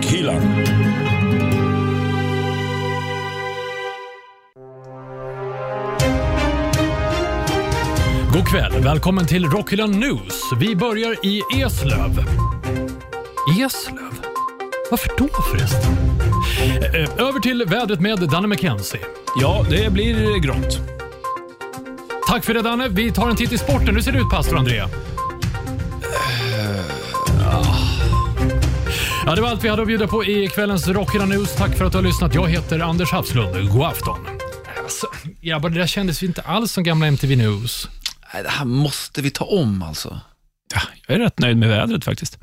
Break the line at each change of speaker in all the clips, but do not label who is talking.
Dylan. God kväll, välkommen till Rockhyllan News. Vi börjar i Eslöv. Eslöv? Varför då förresten? Eh, Över till vädret med Danne McKenzie.
Ja, det blir grått.
Tack för det Danne. Vi tar en titt i sporten. Hur ser det ut pastor André? Ja, det var allt vi hade att bjuda på i kvällens Rockhyllan News. Tack för att du har lyssnat. Jag heter Anders Hafslund. God afton. Alltså, grabbar, det där kändes ju inte alls som gamla MTV News.
Nej, det här måste vi ta om alltså.
Ja, Jag är rätt nöjd med vädret faktiskt.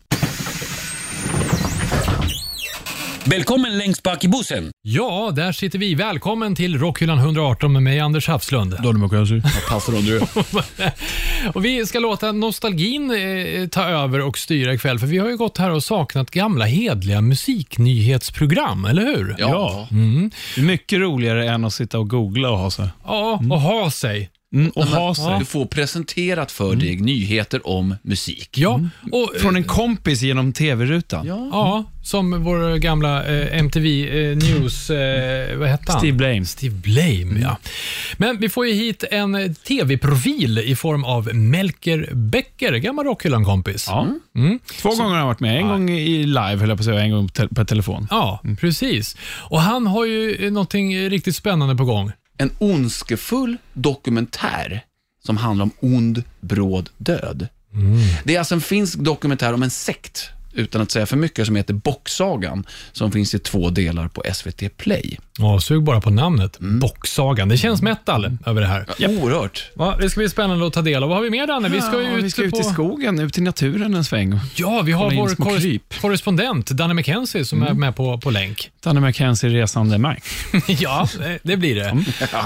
Välkommen längst bak i bussen.
Ja, där sitter vi. Välkommen till Rockhyllan 118 med mig, Anders Hafslund.
Donny McKenzie.
Passar om du.
Och vi ska låta nostalgin eh, ta över och styra ikväll, för vi har ju gått här och saknat gamla hedliga musiknyhetsprogram, eller hur?
Ja. Mycket roligare än att sitta och googla och ha sig.
Ja, och ha sig.
Mm, och ha sig.
Du får presenterat för dig nyheter om musik.
Ja,
Mm.
och, eh,
Från en kompis genom tv-rutan.
ja som vår gamla eh, MTV eh, News... Eh, vad hette han?
Steve Mm. Blame.
Steve Blame, ja. Men vi får ju hit en eh, tv-profil i form av Melker Becker, gammal Rockhyllan-kompis.
Ja. Två gånger har han varit med. En gång i live, höll jag på att säga, och en gång på, te- på telefon.
Ja, precis. Och han har ju eh, någonting eh, riktigt spännande på gång.
En ondskefull dokumentär som handlar om ond, bråd död. Det är alltså en finsk dokumentär om en sekt, utan att säga för mycket, som heter Bocksagan, som finns i två delar på SVT Play.
Ja, sug bara på namnet.
Mm.
Bocksagan. Det känns metal över det här.
Oerhört.
Va, det ska bli spännande att ta del av. Vad har vi mer, Danne? Vi ska ju
Ja,
ut,
vi ska ut
på...
i skogen, ut i naturen en sväng.
Ja, vi har
Kolla in
vår
små
korres-
kryp. Mm.
korrespondent Danne McKenzie som är med på, på länk.
Danny McKenzie resande Mike.
ja, det- det blir det.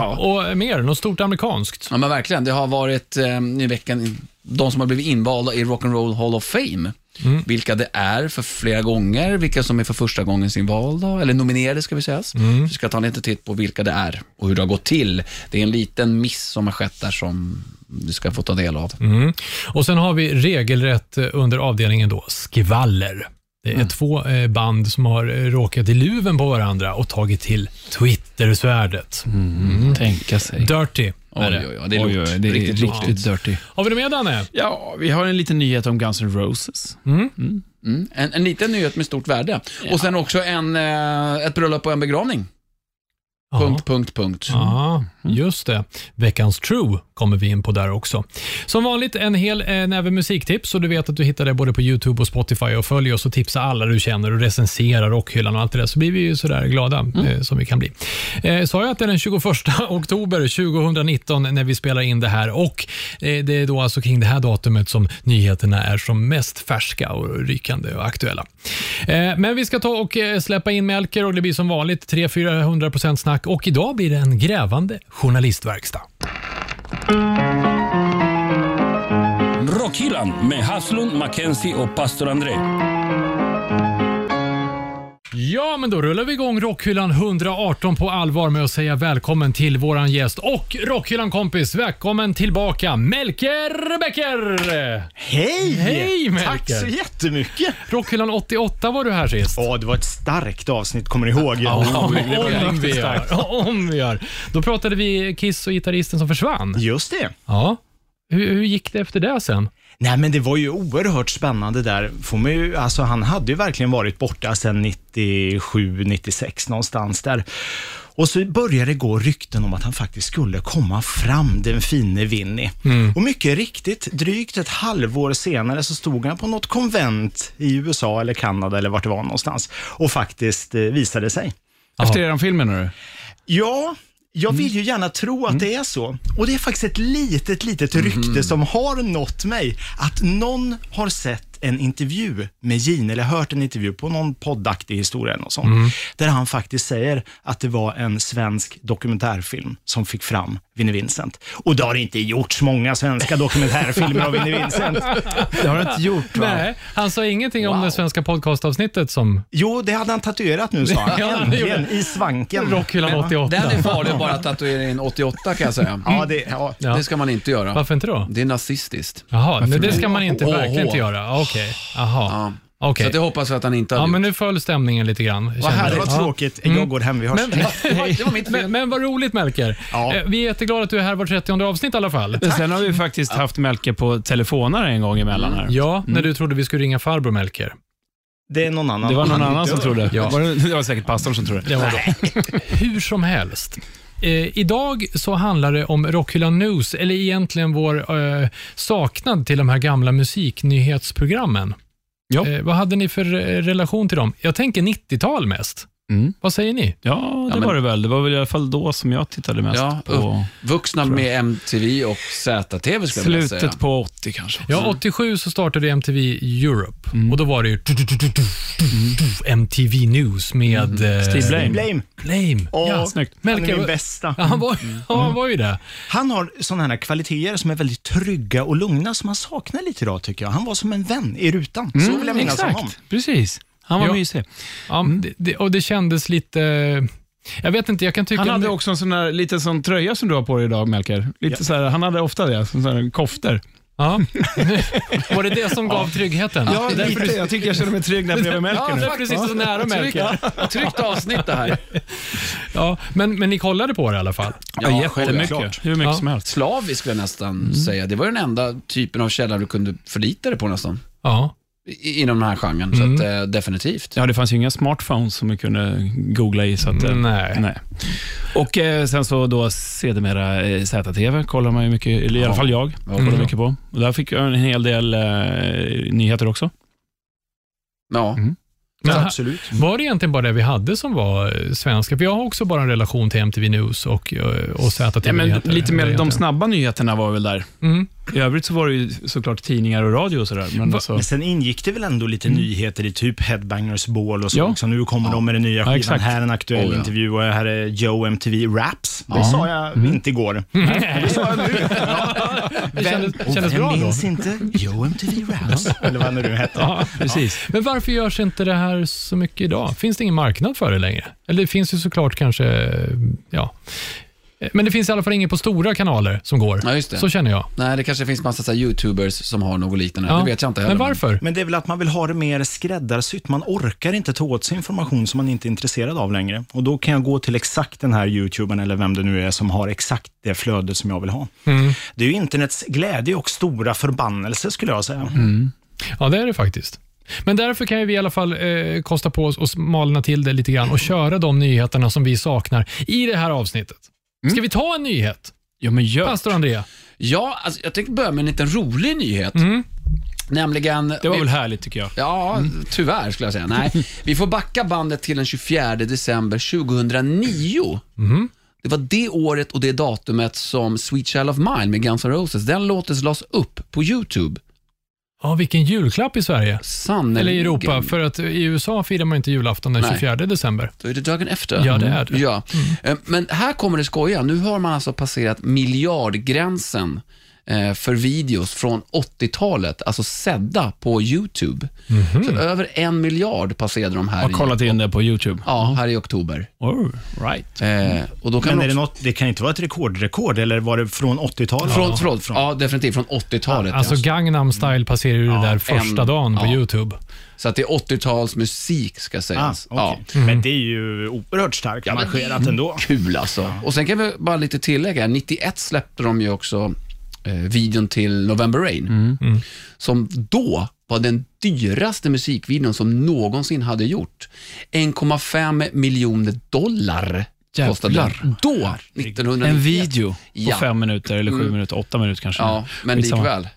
Och mer, något stort amerikanskt.
Ja, men verkligen. Det har varit eh, i veckan de som har blivit invalda i Rock'n'Roll Hall of Fame.
Mm.
Vilka det är för flera gånger, vilka som är för första gången sin valda, eller nominerade ska vi säga.
Mm.
Vi ska ta en liten titt på vilka det är och hur det har gått till. Det är en liten miss som har skett där som du ska få ta del av.
Mm. Och sen har vi regelrätt eh, under avdelningen då, skvaller. Det är
Mm.
två eh, band som har eh, råkat i luven på varandra och tagit till Twitter-svärdet.
Mm. Tänka sig.
Dirty är
Oj,
det.
oj, oj, det är,
Oj,
lort.
oj, det är
riktigt,
riktigt,
lort.
dirty.
Har vi det med, Danne?
Ja, vi har en liten nyhet om Guns N' Roses.
Mm. En, en liten nyhet med stort värde. Och sen också en, eh, ett bröllop och en begravning.
Ja.
Punkt, Mm. punkt, punkt.
Ja, just det. Veckans True kommer vi in på där också. Som vanligt en hel eh, näve musiktips och du vet att du hittar det både på YouTube och Spotify och följ oss och tipsa alla du känner och recensera Rockhyllan och allt det där så blir vi ju sådär glada
Mm.
eh, som vi kan bli. Eh, sa jag att det är den 21 oktober 2019 när vi spelar in det här och eh, det är då alltså kring det här datumet som nyheterna är som mest färska och rykande och aktuella. Eh, men vi ska ta och eh, släppa in Melker och det blir som vanligt 300-400% snack och idag blir det en grävande journalistverkstad.
Rockhyllan med Haslund, Mackenzie och pastor André.
Ja, men då rullar vi igång Rockhyllan 118 på allvar med att säga välkommen till våran gäst och Rockhyllan-kompis. Välkommen tillbaka, Melker Becker!
Hej!
Hej,
Tack
Melker.
så jättemycket!
Rockhyllan 88 var du här sist.
Ja, det var ett starkt avsnitt, kommer ni ihåg?
Om vi gör. Om vi gör. Då pratade vi Kiss och gitarristen som försvann.
Just det.
Ja. Hur, hur gick det efter det sen?
Nej, men det var ju oerhört spännande där. Får man ju, alltså, han hade ju verkligen varit borta sedan 97, 96 någonstans där. Och så började det gå rykten om att han faktiskt skulle komma fram, den fine Winnie. Och mycket riktigt, drygt ett halvår senare så stod han på något konvent i USA eller Kanada eller vart det var någonstans och faktiskt eh, visade sig.
Efter eran film menar du?
Ja, jag vill
Mm.
ju gärna tro att det är så. Och det är faktiskt ett litet, litet rykte
Mm-hmm.
som har nått mig. Att någon har sett en intervju med Gene, eller hört en intervju på någon poddaktig historia eller något sånt.
Mm.
Där han faktiskt säger att det var en svensk dokumentärfilm som fick fram Vinnie Vincent. Och det har inte gjorts många svenska dokumentärfilmer av Vinnie Vincent.
Det har du inte gjort va?
Nej, han sa ingenting om
Wow.
det svenska podcastavsnittet som
Jo, det hade han tatuerat nu sa han.
Ja, det gjorde
Äntligen, i svanken.
Rockhyllan 88.
Den är farlig att bara tatuera in 88 kan jag säga.
Ja, det, ja.
Ja.
Det ska man inte göra.
Varför inte då?
Det är nazistiskt.
Jaha, nej, det ska man inte,
Åh,
verkligen inte
åh.
göra. Ah, Okej, jaha. Okej.
Så att jag hoppas att han inte har
Ja, men nu föll stämningen lite grann. kände
Vad
jag.
Det
härligt.
var tråkigt. Jag går hem, vi hörs.
Det var- det var mitt
Men,
fel.
men vad roligt Melker.
Ja.
Eh, Vi är jätteglada att du är här vart 30 avsnitt i alla fall.
Sen har vi faktiskt haft Melke på telefonare en gång emellan här.
Ja,
Mm.
när du trodde vi skulle ringa farbror Melker.
Det är någon annan.
Det var någon annan som trodde.
Ja.
Var det, det var säkert pastorn som trodde.
Det var bra. Hur som helst. Eh, idag så handlar det om Rockhyllan News, eller egentligen vår eh, saknad till de här gamla musiknyhetsprogrammen.
Ja.
Eh, vad hade ni för eh, relation till dem? Jag tänker 90-tal mest.
Mm.
Vad säger ni?
Ja, det
men-
var det väl. Det var väl i alla fall då som jag tittade mest
Ja,
på.
Vuxna med MTV och ZTV skulle jag vilja säga.
Slutet på 80 kanske.
Ja, 87 så startade MTV Europe
Mm.
och då var det ju MTV News med eh,
Mm. Steve Blame.
Blame.
Blame.
Åh,
Ja,
snyggt.
Han
Melker,
är min
vad-
bästa.
Ja, han var,
Mm.
ja, han var ju det.
Han har sådana här kvaliteter som är väldigt trygga och lugna som man saknar lite idag tycker jag. Han var som en vän i rutan. så vill jag minnas honom.
Exakt, precis. Han var
Ja.
mysig.
Ja,
Mm.
det, det. Och det kändes lite... Jag vet inte, jag kan tycka...
Han hade också en sån där, lite sån tröja som du har på dig idag, Melker. Lite så här, han hade ofta det, som sån här koftor.
Ja. Var det det som gav tryggheten?
Ja, därför jag tycker jag känner mig trygg när jag bredvid Melker
det
nu.
är precis så nära Melker.
Tryggt avsnitt det här.
Ja, men, men ni kollade på det i alla fall?
Ja,
Jättemycket. Hur mycket
Ja.
som helst.
Slavisk skulle jag nästan
Mm.
säga. Det var ju den enda typen av källa du kunde förlita dig på nästan.
Ja.
I, inom den här genren.
Mm.
Så att, eh, definitivt.
Ja, det fanns ju inga smartphones som vi kunde googla i. Så att, eh,
Nej.
nej. Och eh, sen så då sedermera eh, ZTV kollar man ju mycket, eller i alla
Ja.
fall jag, kollar
Mm.
mycket på. Och där fick jag en hel del eh, nyheter också.
Ja.
Mm. Men ha-
Absolut.
var det egentligen bara det vi hade som var eh, svenska? För jag har också bara en relation till MTV News och, eh, och ZTV.
Ja, men
Nyheter.
lite mer, de
Nyheter.
snabba nyheterna var väl där.
Mm.
I övrigt så var det ju såklart tidningar och radio och sådär. Men
Va-
alltså,
Men sen ingick det väl ändå lite nyheter i typ Headbangers Ball och så.
Ja.
Också. Nu kommer de med den nya skivan.
exakt.
här är en aktuell
Oh, ja.
intervju och här är Joe MTV Raps. Det sa jag inte igår. Det sa jag nu.
Det kändes,
Och
kändes
vem
bra då.
minns inte Joe MTV Raps? Eller vad nu du hette.
ja, precis.
Men varför görs inte det här så mycket idag? Finns det ingen marknad för det längre? Eller det finns ju såklart kanske, ja. Eh, Men det finns i alla fall ingen på stora kanaler som går.
Ja, just det.
Så känner jag.
Nej, det kanske finns massa så här YouTubers som har något liknande.
Ja.
Det vet jag inte heller.
Men varför?
Men det är väl att man vill ha det mer skräddarsytt. Man orkar inte ta åt sig information som man inte är intresserad av längre. Och då kan jag gå till exakt den här YouTubern eller vem det nu är som har exakt det flöde som jag vill ha.
Mm.
Det är ju internets glädje och stora förbannelse skulle jag
Mm.
säga.
Ja, det är det faktiskt. Men därför kan ju vi i alla fall eh, kosta på oss och smalna till det lite grann och köra de nyheterna som vi saknar i det här avsnittet. Ska vi ta en nyhet?
Mm. Ja, men gör.
Pastor Andrea?
Ja, alltså, jag tänkte börja med en liten rolig nyhet.
Mm.
Nämligen...
Det var väl härligt tycker jag.
Ja,
Mm.
tyvärr skulle jag säga. Nej, vi får backa bandet till den 24 december 2009.
Mhm.
Det var det året och det datumet som Sweet Child of Mine med Guns N' Roses, den låten lades upp på YouTube.
Ja, vilken julklapp i Sverige.
Sannerligen.
Eller i Europa, för att i USA firar man inte julafton den
Nej.
24 december.
Då är det dagen efter.
Ja, det är det. Mm.
Ja. Eh, Men här kommer det skoja. Nu har man alltså passerat miljardgränsen eh, för videos från 80-talet, alltså sedda på YouTube.
Mhm.
Så över en miljard passerade de här,
Har kollat in det på YouTube.
I, ja, här i oktober.
Oh, right.
Eh, och då kan
Men
man
är det,
också-
något, det kan inte vara ett rekordrekord, eller var det från 80-talet?
Från, förlåt, från, ja, definitivt från 80-talet.
Alltså
ja.
Gangnam style passerar ju det där första
en-
dagen på
ja.
YouTube.
Så att det är 80-talsmusik ska
Ah,
sägas.
okej.
ja. Mm.
Men det är ju oerhört starkt arrangerat ändå.
Kul alltså. Och sen kan vi bara lite tillägga, 91 släppte de ju också eh, videon till November Rain. Som då var den dyraste musikvideon som någonsin hade gjort. 1,5 miljoner dollar kostade den.
Jävlar.
Då, 1991.
En video
Ja. Mm.
på fem minuter, eller sju minuter, åtta minuter kanske.
Ja, men
Skitsamma.
likväl.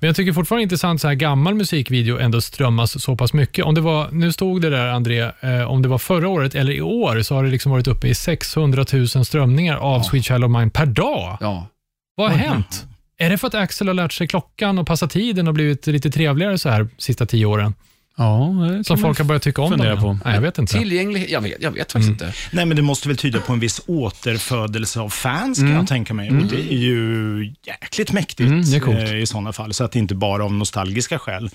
Men jag tycker fortfarande det är intressant så här gammal musikvideo ändå strömmas så pass mycket. Om det var, nu stod det där André, eh, om det var förra året eller i år så har det liksom varit uppe i 600 000 strömningar av Sweet Child of Mine per dag.
Ja.
Vad har hänt? Är det för att Axel har lärt sig klockan och passat tiden och blivit lite trevligare så här sista tio åren?
Ja, det kan
Som
man
folk har börjat tycka om
fundera
dem?
på.
Nej, jag vet inte.
Tillgänglighet, jag vet, jag vet faktiskt inte.
Nej, men det måste väl tyda på en viss återfödelse av fans kan jag tänka mig. Och det är ju jäkligt mäktigt
Mm, det är coolt.
eh, i sådana fall, så att det inte bara av nostalgiska skäl.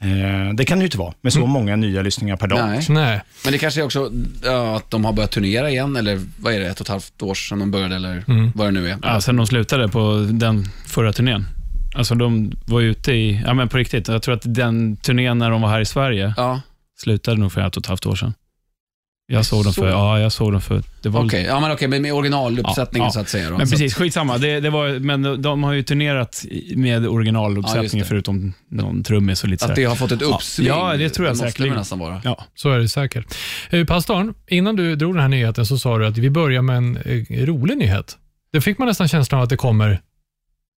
Eh, Det kan det ju inte vara, med
Mm.
så många nya lyssningar per dag.
Nej.
Nej.
Men det kanske är också ja, att de har börjat turnera igen, eller vad är det,
Mm.
ett och ett halvt år sedan de började, eller vad det nu är.
Ja, sen de slutade på den förra turnén. Alltså de var ute i, ja men på riktigt, jag tror att den turnén när de var här i Sverige
Ja,
slutade nog för ett och ett halvt år sedan. Jag såg dem
Så.
för, ja jag såg dem för, det var
okej.
väl-
Ja, men okej, men med originaluppsättningen
Ja, ja.
så att säga. Då.
Men
Så
precis, skitsamma. Det, det var, men de har ju turnerat i- med
Ja, just
originaluppsättningen
det.
förutom någon trummis och lite
Att, att
sådär.
det har fått ett uppsving.
Ja, det tror jag
måste
säkerligen.
det nästan vara.
Ja.
Så är det säkert. Eh, Pastorn, innan du drog den här nyheten så sa du att vi börjar med en eh, rolig nyhet. Det fick man nästan känslan av att det kommer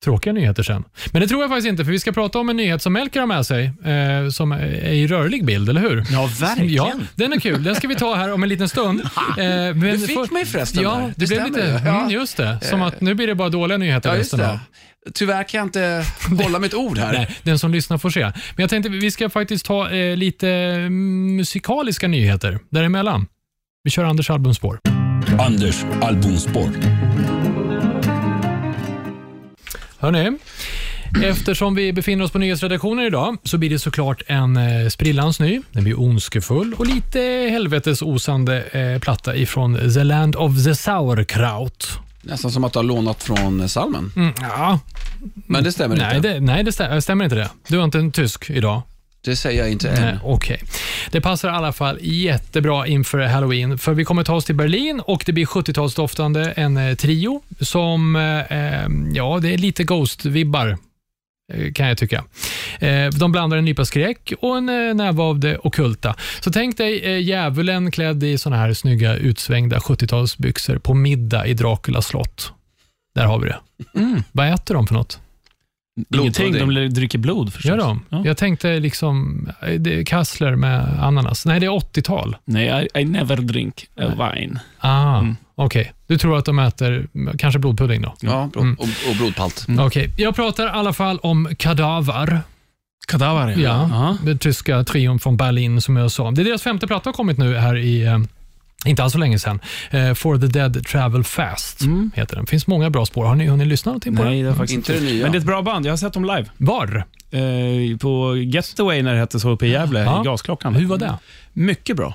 tråkiga nyheter sen. Men det tror jag faktiskt inte, för vi ska prata om en nyhet som Melker har med sig, eh, som är i rörlig bild, eller hur?
Ja, verkligen.
Ja, den är kul. Den ska vi ta här om en liten stund. Eh, men
Du fick mig förresten
Ja,
där.
det blev
stämmer
lite,
ju. Ja.
mm, just det. Som att nu blir det bara dåliga nyheter
Ja, just
resten av.
det. Tyvärr kan jag inte hålla mitt ord här.
Nej, den som lyssnar får se. Men jag tänkte vi ska faktiskt ta eh, lite mm, musikaliska nyheter däremellan. Vi kör Anders albumspår.
Anders albumspår.
Hörni, eftersom vi befinner oss på nyhetsredaktionen idag så blir det såklart en eh, sprillans ny. Den blir ondskefull och lite helvetes osande eh, platta ifrån The Land of the Sauerkraut.
Nästan som att du har lånat från salmen.
Mm, ja,
Men det stämmer
nej,
inte.
det, nej det stämmer, stämmer inte det. Du är inte en tysk idag.
Det säger jag inte
Nej,
än.
Eh, Okej. Det passar i alla fall jättebra inför halloween, för vi kommer ta oss till Berlin och det blir 70-talsdoftande, en eh, trio som, eh, eh, ja, det är lite Ghost-vibbar eh, kan jag tycka. Eh, De blandar en nypa skräck och en eh, näve av det ockulta. Så tänk dig eh, djävulen klädd i såna här snygga utsvängda 70-talsbyxor på middag i Draculas slott. Där har vi det. Vad äter de för något?
Ingenting,
Blodpudding.
de dricker blod förstås.
Gör de?
Ja.
Jag tänkte liksom, eh, det är kassler med ananas. Nej, det är 80-tal.
Nej, I, I never drink a wine.
Ah,
Mm.
Okej, du tror att de äter mm, kanske blodpudding då?
Ja, bro- och, och blodpalt.
Mm.
Okej, jag pratar i alla fall om Kadaver.
Kadaver,
Ja, Den tyska trion från Berlin som jag sa. Det är deras femte platta har kommit nu här i eh, inte alls så länge sedan. Eh, For the Dead Travel Fast heter den. finns många bra spår. Har ni hunnit lyssna någonting på den?
Mm. Nej, det har faktiskt
Inte det nya.
Men det är ett bra band. Jag har sett dem live.
Var?
Eh, på Getaway när det hette så uppe i Gävle,
Ja.
i Gasklockan.
Hur var
Mm.
det?
Mycket bra.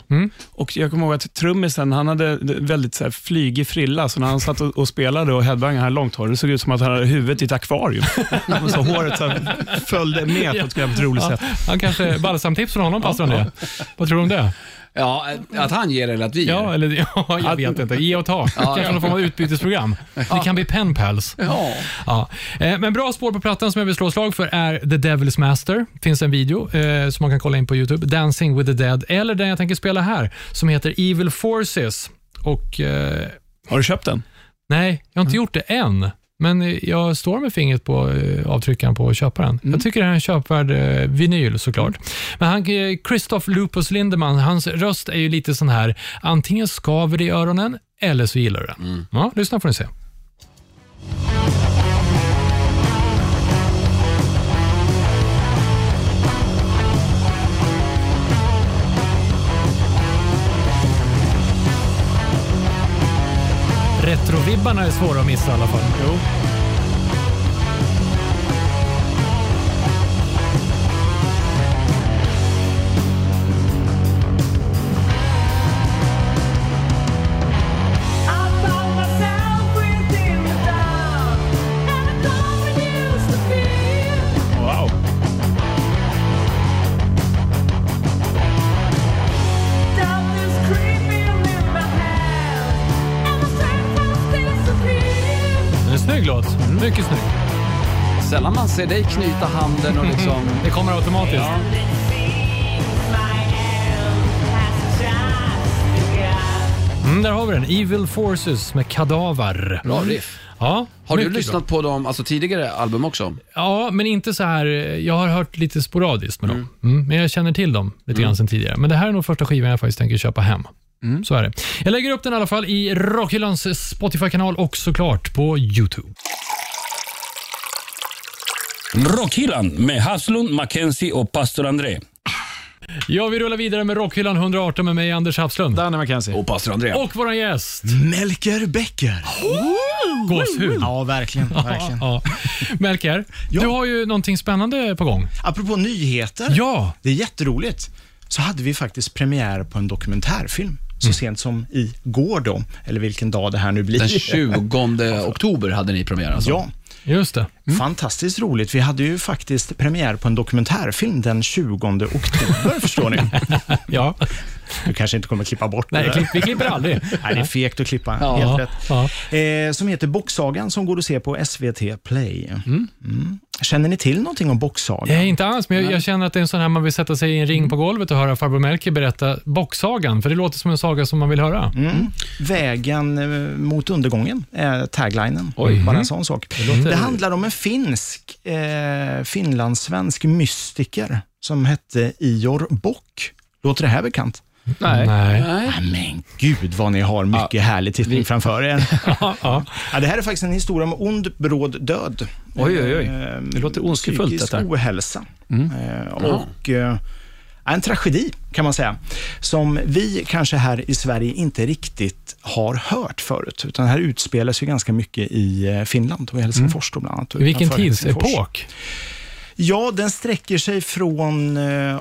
Och Jag kommer ihåg att trummisen, han hade väldigt så här flygig frilla, så när han satt och, och spelade och headbangade, han hade långt hår, det såg ut som att han hade huvudet i ett akvarium. Och så håret så här följde med på ett jävligt roligt
Ja,
sätt.
han kanske, balsamtips från honom passar det. Vad tror du om det?
Ja, att han ger eller att vi ger.
Ja, eller, ja, jag vet inte. Ge och ta. Kanske någon form av utbytesprogram. Det kan bli pen pals.
Ja.
Ja. Eh, Men bra spår på plattan som jag vill slå slag för är The Devil's Master. finns en video eh, som man kan kolla in på YouTube. Dancing with the Dead, eller den jag tänker spela här, som heter Evil Forces. Och eh,
Har du köpt den?
nej, jag har
Mm.
inte gjort det än. Men eh, jag står med fingret på eh, avtryckaren på köparen.
Mm.
Jag tycker det här är en köpvärd eh, vinyl såklart. Men han, eh, Christoph Lupus Lindemann, hans röst är ju lite sån här, antingen skaver det i öronen eller så gillar du den.
Mm.
Ja, lyssna får ni se. Retrovibbarna är svåra att missa i alla fall.
Jo. Wow.
Det är en snygg låt.
Mm.
Mycket snygg.
Sällan man ser dig knyta handen och liksom...
Det kommer automatiskt. Mm, där har vi den. Evil Forces med Kadaver.
Bra riff.
Ja,
Har du
mycket bra.
lyssnat på dem, alltså tidigare album också?
Ja, men inte så här. Jag har hört lite sporadiskt med dem. Mm, men jag känner till dem lite grann sen tidigare. Men det här är nog första skivan jag faktiskt tänker köpa hem. Så är det. Jag lägger upp den i alla fall i Rockhyllans Spotify-kanal och såklart på YouTube.
Rockhyllan med Haslund, Mackenzie och pastor André.
Ja, vi rullar vidare med Rockhyllan 118 med mig, Anders Hafslund.
Danne McKenzie.
Och pastor André.
Och vår gäst,
Melker Becker.
gåshud.
Ja, verkligen. verkligen.
Ja. Melker, du har ju någonting spännande på gång.
Apropå nyheter.
Ja,
Det är jätteroligt. Så hade vi faktiskt premiär på en dokumentärfilm så
Mm.
sent som igår då, eller vilken dag det här nu blir.
Den 20 oktober hade ni premiär alltså?
Ja,
Just det.
Mm. Fantastiskt roligt. Vi hade ju faktiskt premiär på en dokumentärfilm den 20 oktober, förstår ni.
Ja.
Du kanske inte kommer klippa bort
Nej,
det där.
klipp, vi klipper aldrig.
Nej, det är fegt att klippa.
Ja.
Helt rätt.
Ja.
Eh, som heter Boxsagan som går att se på SVT Play. Mm. Eh. Känner ni till någonting om Boxsagan?
Nej, inte alls, men jag, jag känner att det är en sån här man vill sätta sig i en ring på golvet och höra farbror Melker berätta boxsagan, för det låter som en saga som man vill höra.
Mm. Vägen eh, mot undergången är taglinen. Bara en sån sak. Mm. Det, handlar om en finsk, eh, finlandssvensk mystiker som hette Ior Bock. Låter det här bekant?
Nej.
Nej.
Nej.
Ah, men gud vad ni har mycket härlig tittning framför er.
Ja, ja.
Ja, det här är faktiskt en historia om ond, bråd död.
Oj, oj, oj.
Eh,
Det låter ondskefullt,
Psykisk
detta. Mm.
ohälsa. Eh, Och eh, en tragedi, kan man säga, som vi kanske här i Sverige inte riktigt har hört förut. Utan här utspelas ju ganska mycket i eh, Finland och i Helsingfors
Mm.
då bland annat. och
Vilken
utanför Helsingfors.
tidsepok.
Ja, den sträcker sig från eh,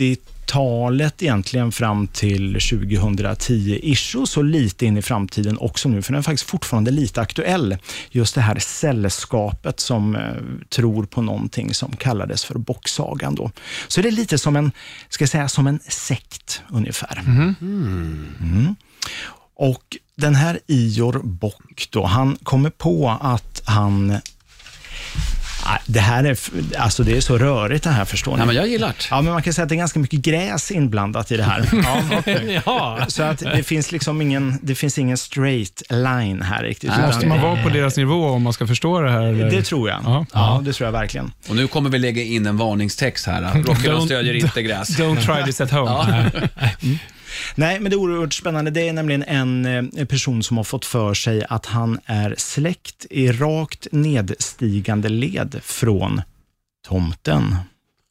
80-talet egentligen fram till 2010-ish och så lite in i framtiden också nu, för den är faktiskt fortfarande lite aktuell. Just det här sällskapet som eh, tror på någonting som kallades för bocksagan då. Så det är lite som en, ska jag säga, som en sekt ungefär. Mm. Och den här Ior Bock då, han kommer på att han... Ah, Det här är, f- alltså det är så rörigt det här förstår ni.
Nej, men jag gillar det.
Ja, men man kan säga att det är ganska mycket gräs inblandat i det här. Ja,
Ja.
Så att det finns liksom ingen, det finns ingen straight line här riktigt.
Nej,
utan
Måste man vara på deras nivå om man ska förstå det här? Eller?
Det tror jag.
Ja.
Ja, det tror jag verkligen.
Och nu kommer vi lägga in en varningstext här. Rockarna
Don't-
stödjer inte gräs.
Don't try this at home.
Nej, men det är oerhört spännande. Det är nämligen en eh, person som har fått för sig att han är släkt i rakt nedstigande led från tomten.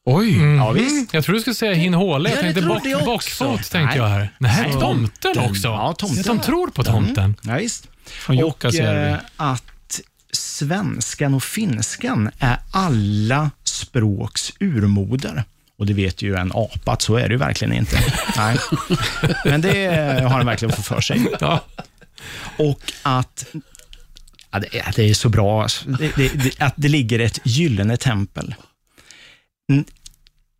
Oj.
Mm.
Ja, visst.
Mm. Jag tror du skulle säga hin håle. Jag
Ja, det
tänkte
trodde
bock,
jag också.
bockfot, tänkte
Nej.
jag här. Nej, tomten också.
Ja, tomten.
De tror på tomten.
Ja, visst.
Från
Och
Jukkasjärvi.
eh, att svenskan och finskan är alla språks urmoder. Och det vet ju en apa att så är det ju verkligen inte. Nej. Men det eh, har han verkligen fått för sig.
Ja.
Och att ja, det, är, det är så bra, alltså. det, det, det, att det ligger ett gyllene tempel. N-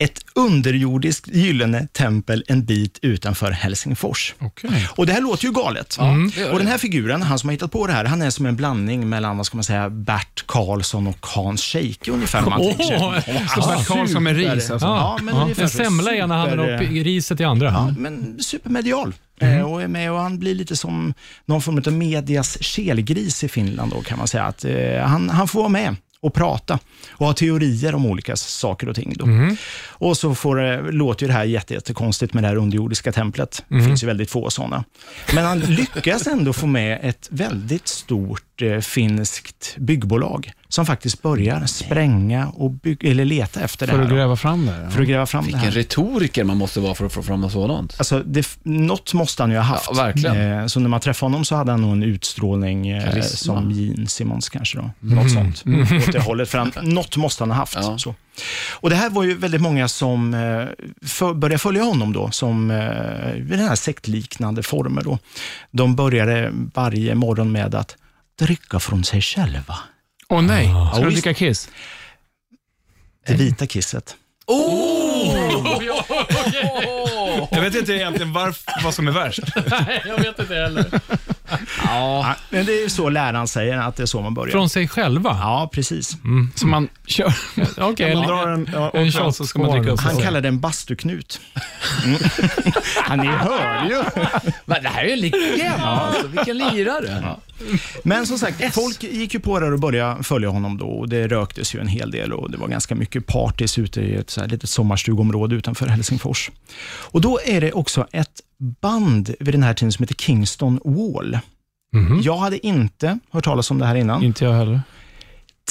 Ett underjordiskt gyllene tempel en bit utanför Helsingfors.
Okej.
Och det här låter ju galet.
det gör
Och den här figuren, han som har hittat på det här, han är som en blandning mellan, vad ska man säga, Bert Karlsson och Hans Scheike ungefär. om man tänker sig.
Åh,
Så Bert Karlsson med ris
Super.
alltså.
Ja,
Ja, men
ja.
ungefär
En
så.
semla i ena handen och
Super-
riset i andra. Mm.
Ja, men supermedial. Eh, Och är med och han blir lite som någon form av medias kelgris i Finland då kan man säga. Att, eh, han, han får vara med och prata och ha teorier om olika saker och ting. Då. Och så får, eh, låter ju det här jätte- jättekonstigt med det här underjordiska templet. Det finns ju väldigt få sådana. Men han lyckas ändå få med ett väldigt stort eh, finskt byggbolag som faktiskt börjar spränga och bygg- eller leta efter
För
det
att
här. då,
gräva fram det.
för att gräva fram det här.
Vilken retoriker man måste vara för att få fram något sådant.
Alltså, det, f- något måste han ju ha haft.
Ja, verkligen.
Eh, så när man träffade honom så hade han nog en utstrålning eh,
Karisma. Mm.
som Gene Simmons kanske. Då. Något sånt. Åt det hållet. För han, något måste han ha haft.
Ja.
Så. Och det här var ju väldigt många som eh, för, började följa honom då, som eh, i den här sektliknande former. Då. De började varje morgon med att dricka från sig själva.
Åh nej, ska
Ja,
du
visst.
dricka Kiss?
Det vita kisset.
Jag vet inte egentligen varf- vad som är värst.
Nej, jag vet inte heller.
Ja, men det är ju så läraren säger, att det är så man börjar.
Från sig själva?
Ja, precis.
Så man kör,
Okej.
man drar en, ja, och
En
sen så ska man dricka upp
shot.
Han
sig.
kallar det en bastuknut. Han är hörd ju.
Va, Det här är ju en legend alltså. Vilken lirare.
Men som sagt, folk gick ju på det och började följa honom då och det röktes ju en hel del och det var ganska mycket parties ute i ett så här litet sommarstugområde utanför Helsingfors. Och då är det också ett band vid den här tiden som heter Kingston Wall. Jag hade inte hört talas om det här innan.
Inte jag heller.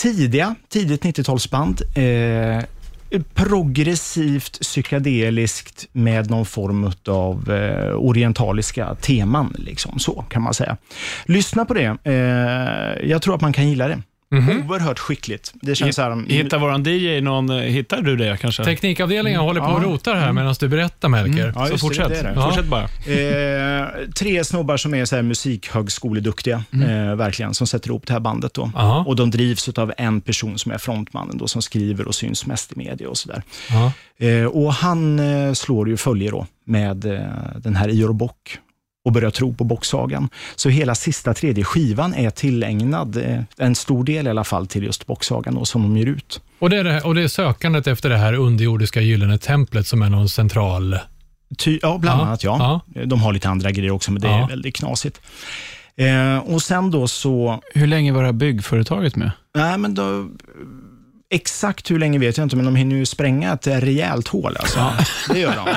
tidiga, tidigt 90-talsband. Eh, progressivt, psykedeliskt med någon form av eh, orientaliska teman. Liksom, så kan man säga. Lyssna på det. Eh, jag tror att man kan gilla det. Oerhört skickligt. Det känns så här... mm,
Hittar våran DJ någon, eh, hittar du det kanske?
Teknikavdelningen håller på och
Ja. Mm.
rotar här medan du berättar, Melker.
Ja,
så
just det,
fortsätt.
det är det.
Ja.
Fortsätt bara.
Eh, tre snobbar som är så här musikhögskoleduktiga, eh, verkligen, som sätter ihop det här bandet. Då.
Ja.
Och De drivs av en person som är frontmannen, då, som skriver och syns mest i media och sådär.
Ja.
Eh, och han eh, slår ju följe då med eh, den här Ior Bock och börjar tro på bocksagan. Så hela sista tredje skivan är tillägnad, eh, en stor del i alla fall, till just bocksagan då, som de ger ut.
Och, det är det här, och det är sökandet efter det här underjordiska gyllene templet som är någon central...
Ty, ja, bland
Ja,
annat ja. Eh, De har lite andra grejer också, men det
Ja.
är väldigt knasigt. Eh, och sen då så
Hur länge var det här byggföretaget med?
Nej, men då... Exakt hur länge vet jag inte, men de hinner ju spränga ett rejält hål. Alltså. Det gör de.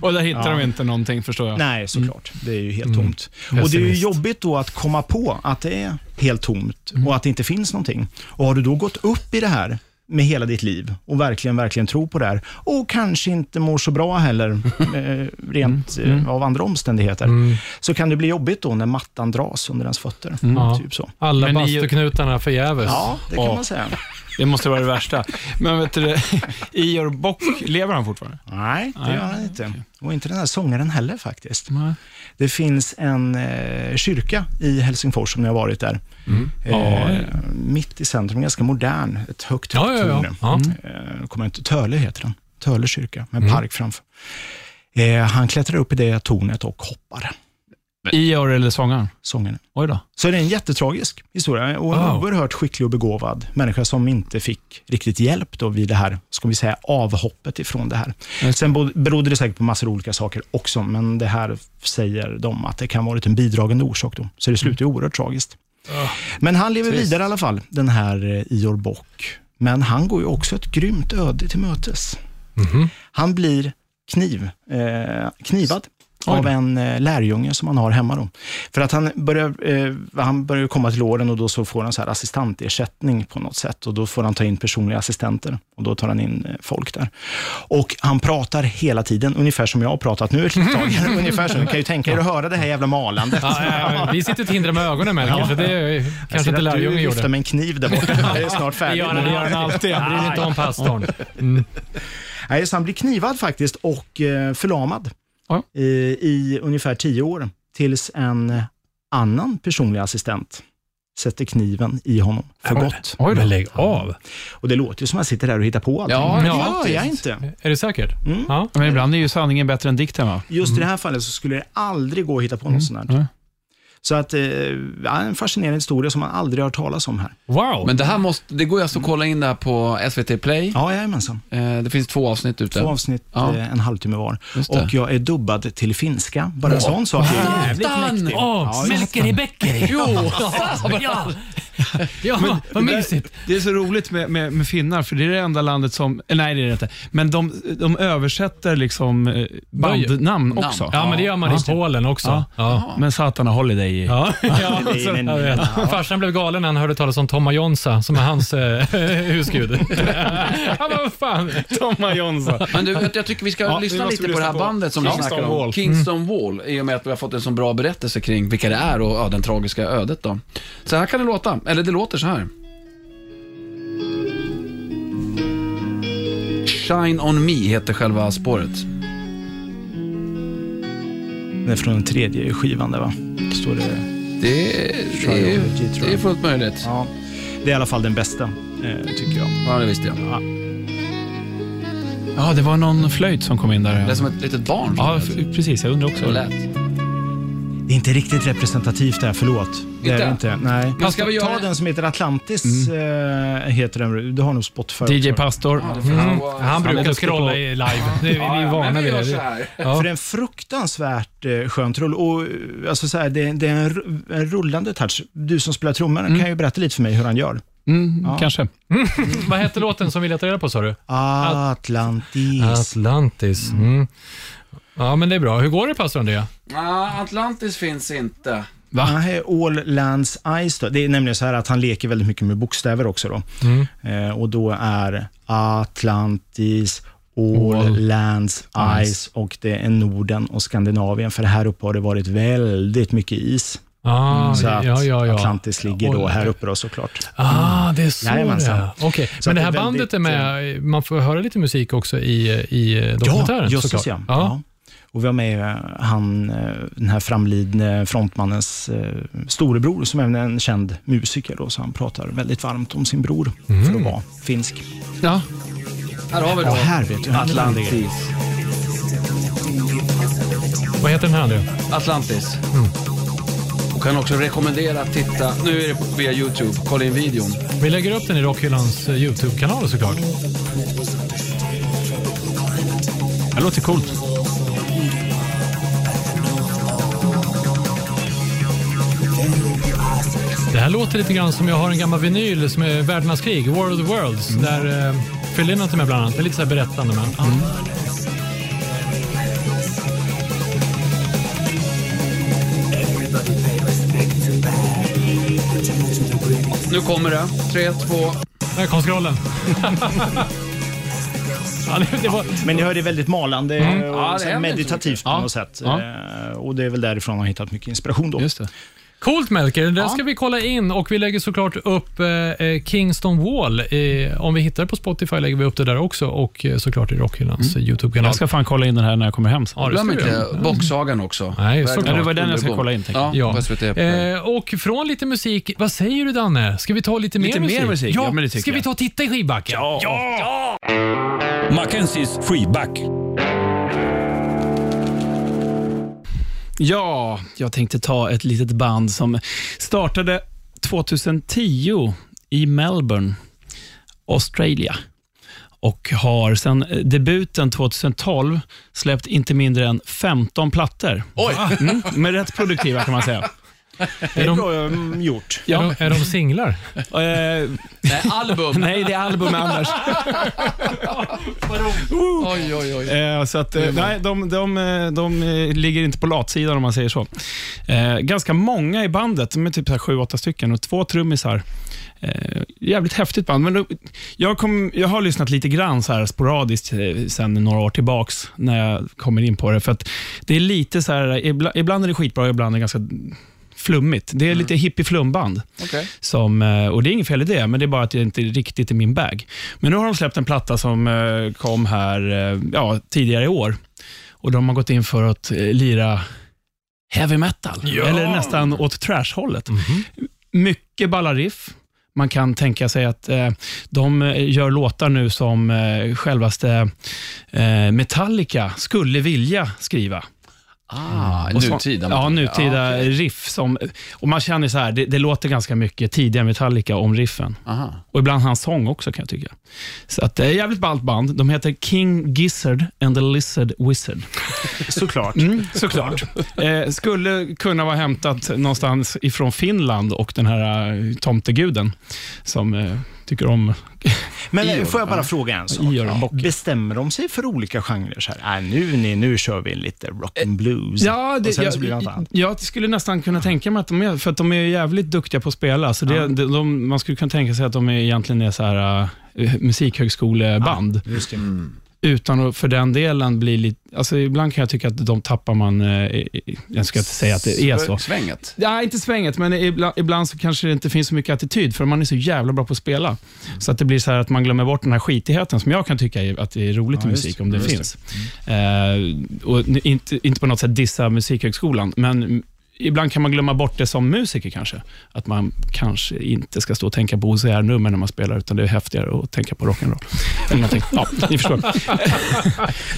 Och där hittar de inte någonting förstår jag.
Nej, såklart. Det är ju helt tomt. Och Det är ju
Mm. pessimist.
jobbigt då att komma på att det är helt tomt
Mm.
och att det inte finns någonting. Och Har du då gått upp i det här med hela ditt liv och verkligen, verkligen tror på det här och kanske inte mår så bra heller, eh, rent
Mm.
eh, av andra omständigheter, så kan det bli jobbigt då när mattan dras under ens fötter.
Mm. Ja.
Typ så.
Alla
Men i-
bastuknutarna förgäves.
Ja, det kan
Ja.
man säga.
Det måste vara det värsta. Men vet du, det, Ior Bock, lever han fortfarande?
Nej, det gör han inte. Och inte den här sångaren heller faktiskt.
Nej.
Det finns en eh, kyrka i Helsingfors som jag har varit där.
Ja,
Eh, mitt i centrum, ganska modern, ett högt,
Ja, ja,
högt
ja.
torn.
ja.
Eh, kommer jag inte, Töle heter den. Töle kyrka, med en park framför. Eh, han klättrar upp i det tornet och hoppar,
Ior eller sångaren?
sångaren.
Oj då.
Så det är en jättetragisk historia och en
Wow.
oerhört skicklig och begåvad människa som inte fick riktigt hjälp då vid det här, ska vi säga, avhoppet ifrån det här. Sen bod- berodde det säkert på massor olika saker också, men det här säger de att det kan vara en bidragande orsak då. Så det slutar ju oerhört tragiskt. Men han lever vidare i alla fall, den här eh, Ior Bock. Men han går ju också ett grymt öde till mötes. Han blir kniv, eh, knivad av en eh, lärjunge som han har hemma. Då. För att han börjar, eh, han börjar ju komma till åren och då så får han så här assistantersättning på något sätt och då får han ta in personliga assistenter och då tar han in eh, folk där. Och han pratar hela tiden, ungefär som jag har pratat nu ett litet tag. ungefär så. Ni kan ju tänka er att höra det här jävla malandet.
Ja, ja, ja. Vi sitter och tindrar med ögonen, Melker, så det är,
Jag
kanske
ser
inte
att
lärjungen
Du viftar
gjorde.
med en kniv där borta. Det är snart
Det
färdigt.
gör han, det gör han alltid. Han bryr sig inte om pastorn. Mm.
Nej, så han blir knivad faktiskt och eh, förlamad
Ja.
i, i ungefär tio år tills en annan personlig assistent sätter kniven i honom för gott.
Oj då. Men lägg av.
Och det låter ju som att han sitter där och hittar på allting.
Ja,
Men det
ja,
gör jag
faktiskt.
inte. Mm.
Är du säker? Ja.
Men ibland är ju sanningen bättre än dikten va?
Just i det här fallet så skulle det aldrig gå att hitta på något sånt
Nej.
här. Så att, eh, ja, en fascinerande historia som man aldrig har hört talas om här.
Wow.
Men det här måste, det går ju alltså att kolla in det här på SVT Play.
Ja, jajamensan.
Eh, Det finns två avsnitt ute.
Två avsnitt,
Ja.
eh, en halvtimme var.
Just det.
Och jag är dubbad till finska. Bara en sån sak är jävligt
Fan!
mäktig.
Åh, Melker i Bäckeri. Jo, ja. Ja, vad mysigt.
Det är så roligt med, med, med finnar, för det är det enda landet som, eh, nej det är det inte, men de, de översätter liksom eh, bandnamn
Namn.
också.
Ja, men det gör man i Polen också.
Ja.
Ja.
Men satana Holiday i.
Ja, ja.
Det är en-
Jag vet. Farsan blev galen när han hörde talas om Tomma Jonsa, som är hans eh, husgud. Han bara, vad fan.
Tomma Jonsson.
Men du, jag- jag tycker vi ska
Ja, vi
lyssna
måste
lite på
lyssna
det här
på
bandet som du
Kingston
snackar om.
Wall.
Kingston Wall. I och med att vi har fått en så bra berättelse kring vilka det är och ja, den tragiska ödet då. Så här kan det låta, eller det låter så här. Shine On Me heter själva spåret.
Det är från den tredje skivan där va? Står det.
Det är,
Shine
det är,
On Me, tror jag.
det är fullt möjligt.
Ja. Det är i alla fall den bästa, eh, tycker jag.
Ja, det visste jag.
Ja, det var någon flöjt som kom in där.
Det är som ett litet barn.
Ja,
Ja,
f- precis. Jag undrar
så
också.
lät.
Det är inte riktigt representativt det här, förlåt. Det är
Inte?
det inte. Nej.
Men ska vi göra
Ta
det?
den som heter Atlantis, eh, heter den. Du har nog Spotify
DJ
också.
Pastor.
Mm. Han
Han är
brukar
duktig
scrolla
på-
i live. Det, vi är vana vid det.
För det är en fruktansvärt eh, skön trull. Och, eh, alltså, så här, det, det är en, ru- en rullande touch. Du som spelar trummor
Mm.
kan ju berätta lite för mig hur han gör.
Mm, Kanske.
Vad hette låten som vi letade reda på, sa du?
Atlantis.
Atlantis. Mm. Ja, men det är bra. Hur går det, pastor Andrea?
Ah, Atlantis finns inte.
Nej, All Lands Eyes då. Det är nämligen så här att han leker väldigt mycket med bokstäver också då.
Mm.
Eh, och då är Atlantis, All, Lands Eyes och det är Norden och Skandinavien. För här uppe har det varit väldigt mycket is.
Ah,
Mm, Så att
ja, ja, ja.
Atlantis ligger då
Oj.
här uppe då såklart.
Ah, det är så
Jajamensan.
det Okej,
Så
Men
att
det
det
här
är
bandet är med, man får höra lite musik också i, i eh, dokumentären
jösses
såklart.
ja.
Ja.
ja. Och vi har med eh, han, eh, den här framlidne frontmannens eh, storebror, som även är en känd musiker. Då, så han pratar väldigt varmt om sin bror,
Mm.
för att vara finsk.
Ja.
Här har vi
Ja,
då
här vet du.
Atlantis.
Vad heter den här nu?
Atlantis. Och kan också rekommendera att titta, nu är det via YouTube, kolla in videon.
Vi lägger upp den i Rockhyllans eh, YouTube-kanal såklart. Det låter coolt. Det här låter lite grann som jag har en gammal vinyl som är Världarnas krig, War of the Worlds, där eh, Phil Lynott är med bland annat. Det är lite så här berättande. Men, ja.
Nu kommer det. Tre, två.
Där kom scrollen. ja, det, det var,
Men ni hör det är väldigt malande och
Ja, det
sen
händer inte
meditativt på
Ja.
något sätt.
Ja.
Eh, Och det är väl därifrån jag har hittat mycket inspiration då.
det.
Coolt Melker, den ska vi kolla in och vi lägger såklart upp eh, eh, Kingston Wall. Eh, om vi hittar det på Spotify lägger vi upp det där också och eh, såklart i Rockhyllans eh, YouTube-kanal.
Mm. Jag ska fan kolla in den här när jag kommer hem sen.
Ja, det
Glöm
ska vi
inte
göra.
boxsagan också.
Nej,
Verkligen.
såklart.
Ja, Mm. det var den jag ska kolla in, tänkte
Ja,
jag.
Ja.
på SVT.
Eh, och från lite musik, vad säger du Danne? Ska vi ta lite,
Lite
mer
mer
musik?
musik?
Ja,
Ja, men det tycker
ska vi
jag.
ta och titta i skivbacken? Ja.
Mackenzies freeback.
Ja, jag tänkte ta ett litet band som startade 2010 i Melbourne, Australien och har sedan eh, debuten 2012 släppt inte mindre än 15 plattor. Oj! Mm, med rätt produktiva kan man säga.
Det är
de-
bra mm, gjort.
Är,
Ja,
de, är de singlar?
eh,
Nej, album.
nej, det är album Anders.
Oj, oj, oj.
Eh, så att, eh, nej, de, de, eh, de eh, ligger inte på latsidan om man säger så. Eh, ganska många i bandet, de är typ så här sju, åtta stycken och två trummisar. Eh, jävligt häftigt band. Men då, jag, kom, jag har lyssnat lite grann så här sporadiskt eh, sen några år tillbaks när jag kommer in på det. För att det är lite så här, ibla, ibland är det skitbra, ibland är det ganska flummigt. Det är lite hippie-flumband.
Okej.
Som, eh, och det är inget fel i det, men det är bara att det inte riktigt är min bag. Men nu har de släppt en platta som eh, kom här eh, ja, tidigare i år. Och de har gått in för att eh, lira heavy metal, eller nästan åt trash-hållet. Mycket ballariff. Man kan tänka sig att eh, de eh, gör låtar nu som eh, självaste eh, Metallica skulle vilja skriva.
Ah,
Och så-
nutida.
Ja, nutida
okej.
riff. Som, och man känner så här, det, det låter ganska mycket tidiga Metallica om riffen.
Aha.
Och ibland hans sång också kan jag tycka. Så att det är jävligt ballt band. De heter King Gizzard and the Lizard Wizard.
Såklart.
Mm, såklart. eh, skulle kunna vara hämtat någonstans ifrån Finland och den här eh, tomteguden som eh, tycker om
Men
Ior,
eh, får jag bara fråga en sak?
Ior Bock.
Bestämmer de sig för olika genrer? Så här, äh, nu, ni, nu kör vi lite rock and blues.
Ja, det,
och sen
jag,
så blir det något annat.
jag skulle nästan kunna tänka mig att de är, för att de är jävligt duktiga på att spela. Så det, de, de, man skulle kunna tänka sig att de är, egentligen är så här, eh, musikhögskoleband.
Just det. Mm.
Utan att för den delen bli lite... Alltså ibland kan jag tycka att de tappar man... eh, i- i- Jag ska inte säga att det är så.
Svänget.
Ja, inte svänget, men ibland, ibland så kanske det inte finns så mycket attityd, för man är så jävla bra på att spela. Så att det blir så här att man glömmer bort den här skitigheten, som jag kan tycka är, att det är roligt i
just
musik,
det,
om det
just det. Mm.
finns. Eh, och n- inte, inte på något sätt dissa Musikhögskolan, men mm, ibland kan man glömma bort det som musiker kanske. Att man kanske inte ska stå och tänka på OCR-nummer när man spelar, utan det är häftigare att tänka på rock'n'roll. Eller någonting. Ja, ni förstår.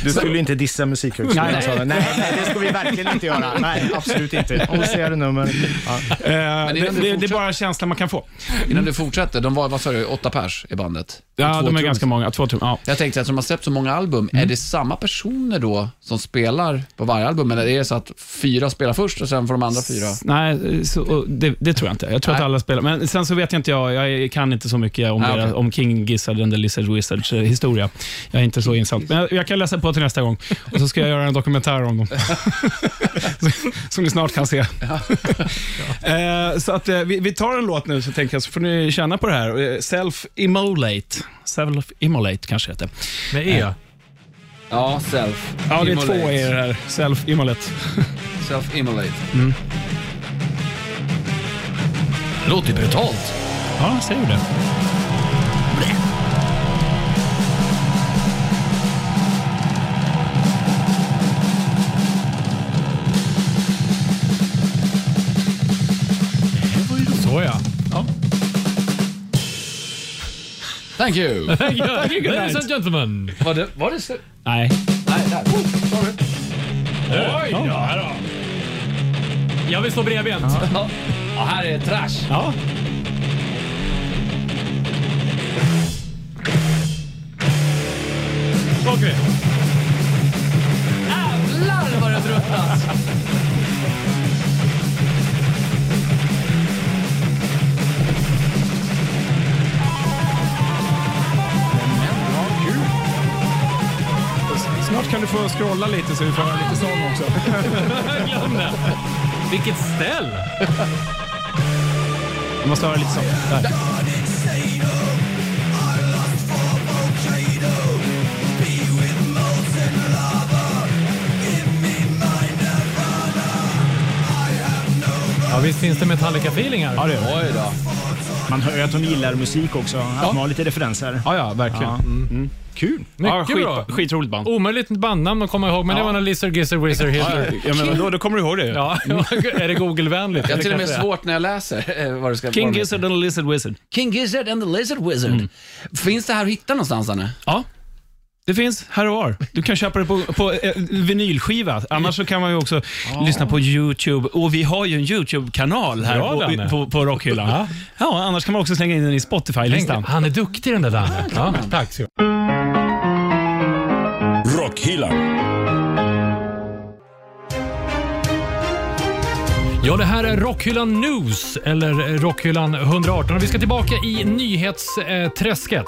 Du skulle inte dissa Musikhögskolan,
Nej.
sa du. nej, nej, det ska vi verkligen inte göra. Nej, absolut inte. Om du ser det nummer. Ja.
Eh, det,
innan du
det, det är
fortsätter-
bara känslan man kan få.
Innan du fortsätter, de var, vad sa du, åtta pers i bandet? Och
Ja,
två
de är
trummisar.
liksom.
ganska Mm. många. Två tum, ja.
Jag tänkte att de har släppt så många album, är det samma personer då som spelar på varje album? Eller är det så att fyra spelar först och sen får de andra fyra?
Nej, så, och det, det tror jag inte. Jag tror
Nej.
att alla spelar. Men sen så vet jag inte, jag, jag kan inte så mycket om,
Ah,
deras,
okej.
om King Gizzard and the Lizard Wizards eh, historia. Jag är inte så insatt. Men jag, jag kan läsa på till nästa gång och så ska jag göra en dokumentär om dem. Som- Som ni snart kan se. Eh, så att, eh, vi, vi tar en låt nu så tänker jag, så får ni känna på det här. Eh, Self-immolate. Self-immolate kanske heter.
Med E?
Ja, self.
Ja, det är
Immolate.
två E i det här. Self-immolate.
Self-immolate. låter ju brutalt.
Ja, säger du det?
Så ja.
Thank you.
Ladies and gentlemen.
var det, var det slut?
Nej.
Nej, där. Oh, sorry.
Oj, ja. då. Jag vill stå bredbent.
Ja. Ja, här är trash.
Ja.
Okej.
Jävlar vad det tröttas.
Snart kan du få scrolla lite så vi får höra lite sång också.
Glöm det. Vilket ställ.
Vi måste höra lite sång. Där.
Ja, visst finns det Metallica-feeling här.
Ja, det är det.
Oj då.
Man hör ju att de gillar musik också, att man har lite referenser. Mm.
Ja, ja, verkligen.
Kul.
Ja,
Mycket
skit,
bra.
Skitroligt band.
Omöjligt bandnamn att komma ihåg, men det var någon Lizard Gizzard Wizard Hitler.
Ja, men då, då kommer du ihåg det ju.
Ja, är det Google-vänligt?
Jag har
Det
till och med
kanske det är.
svårt när jag läser eh, vad det ska
King
vara.
Gizzard Mm. and the Lizard Wizard.
King Gizzard and the Lizard Wizard. Finns det här att hitta någonstans, Anne?
Ja. Det finns här och var. Du kan köpa det på, på eh, vinylskiva. Annars så kan man ju också lyssna på YouTube. Och vi har ju en YouTube-kanal här
Bra,
på,
Danne.
på, på Rockhyllan. Ja. annars kan man också slänga in den i Spotify-listan.
Han är duktig den där Danne. Ja, tack så
Rockhyllan.
Ja, det här är Rockhyllan News, eller Rockhyllan 118. Och vi ska tillbaka i nyhetsträsket.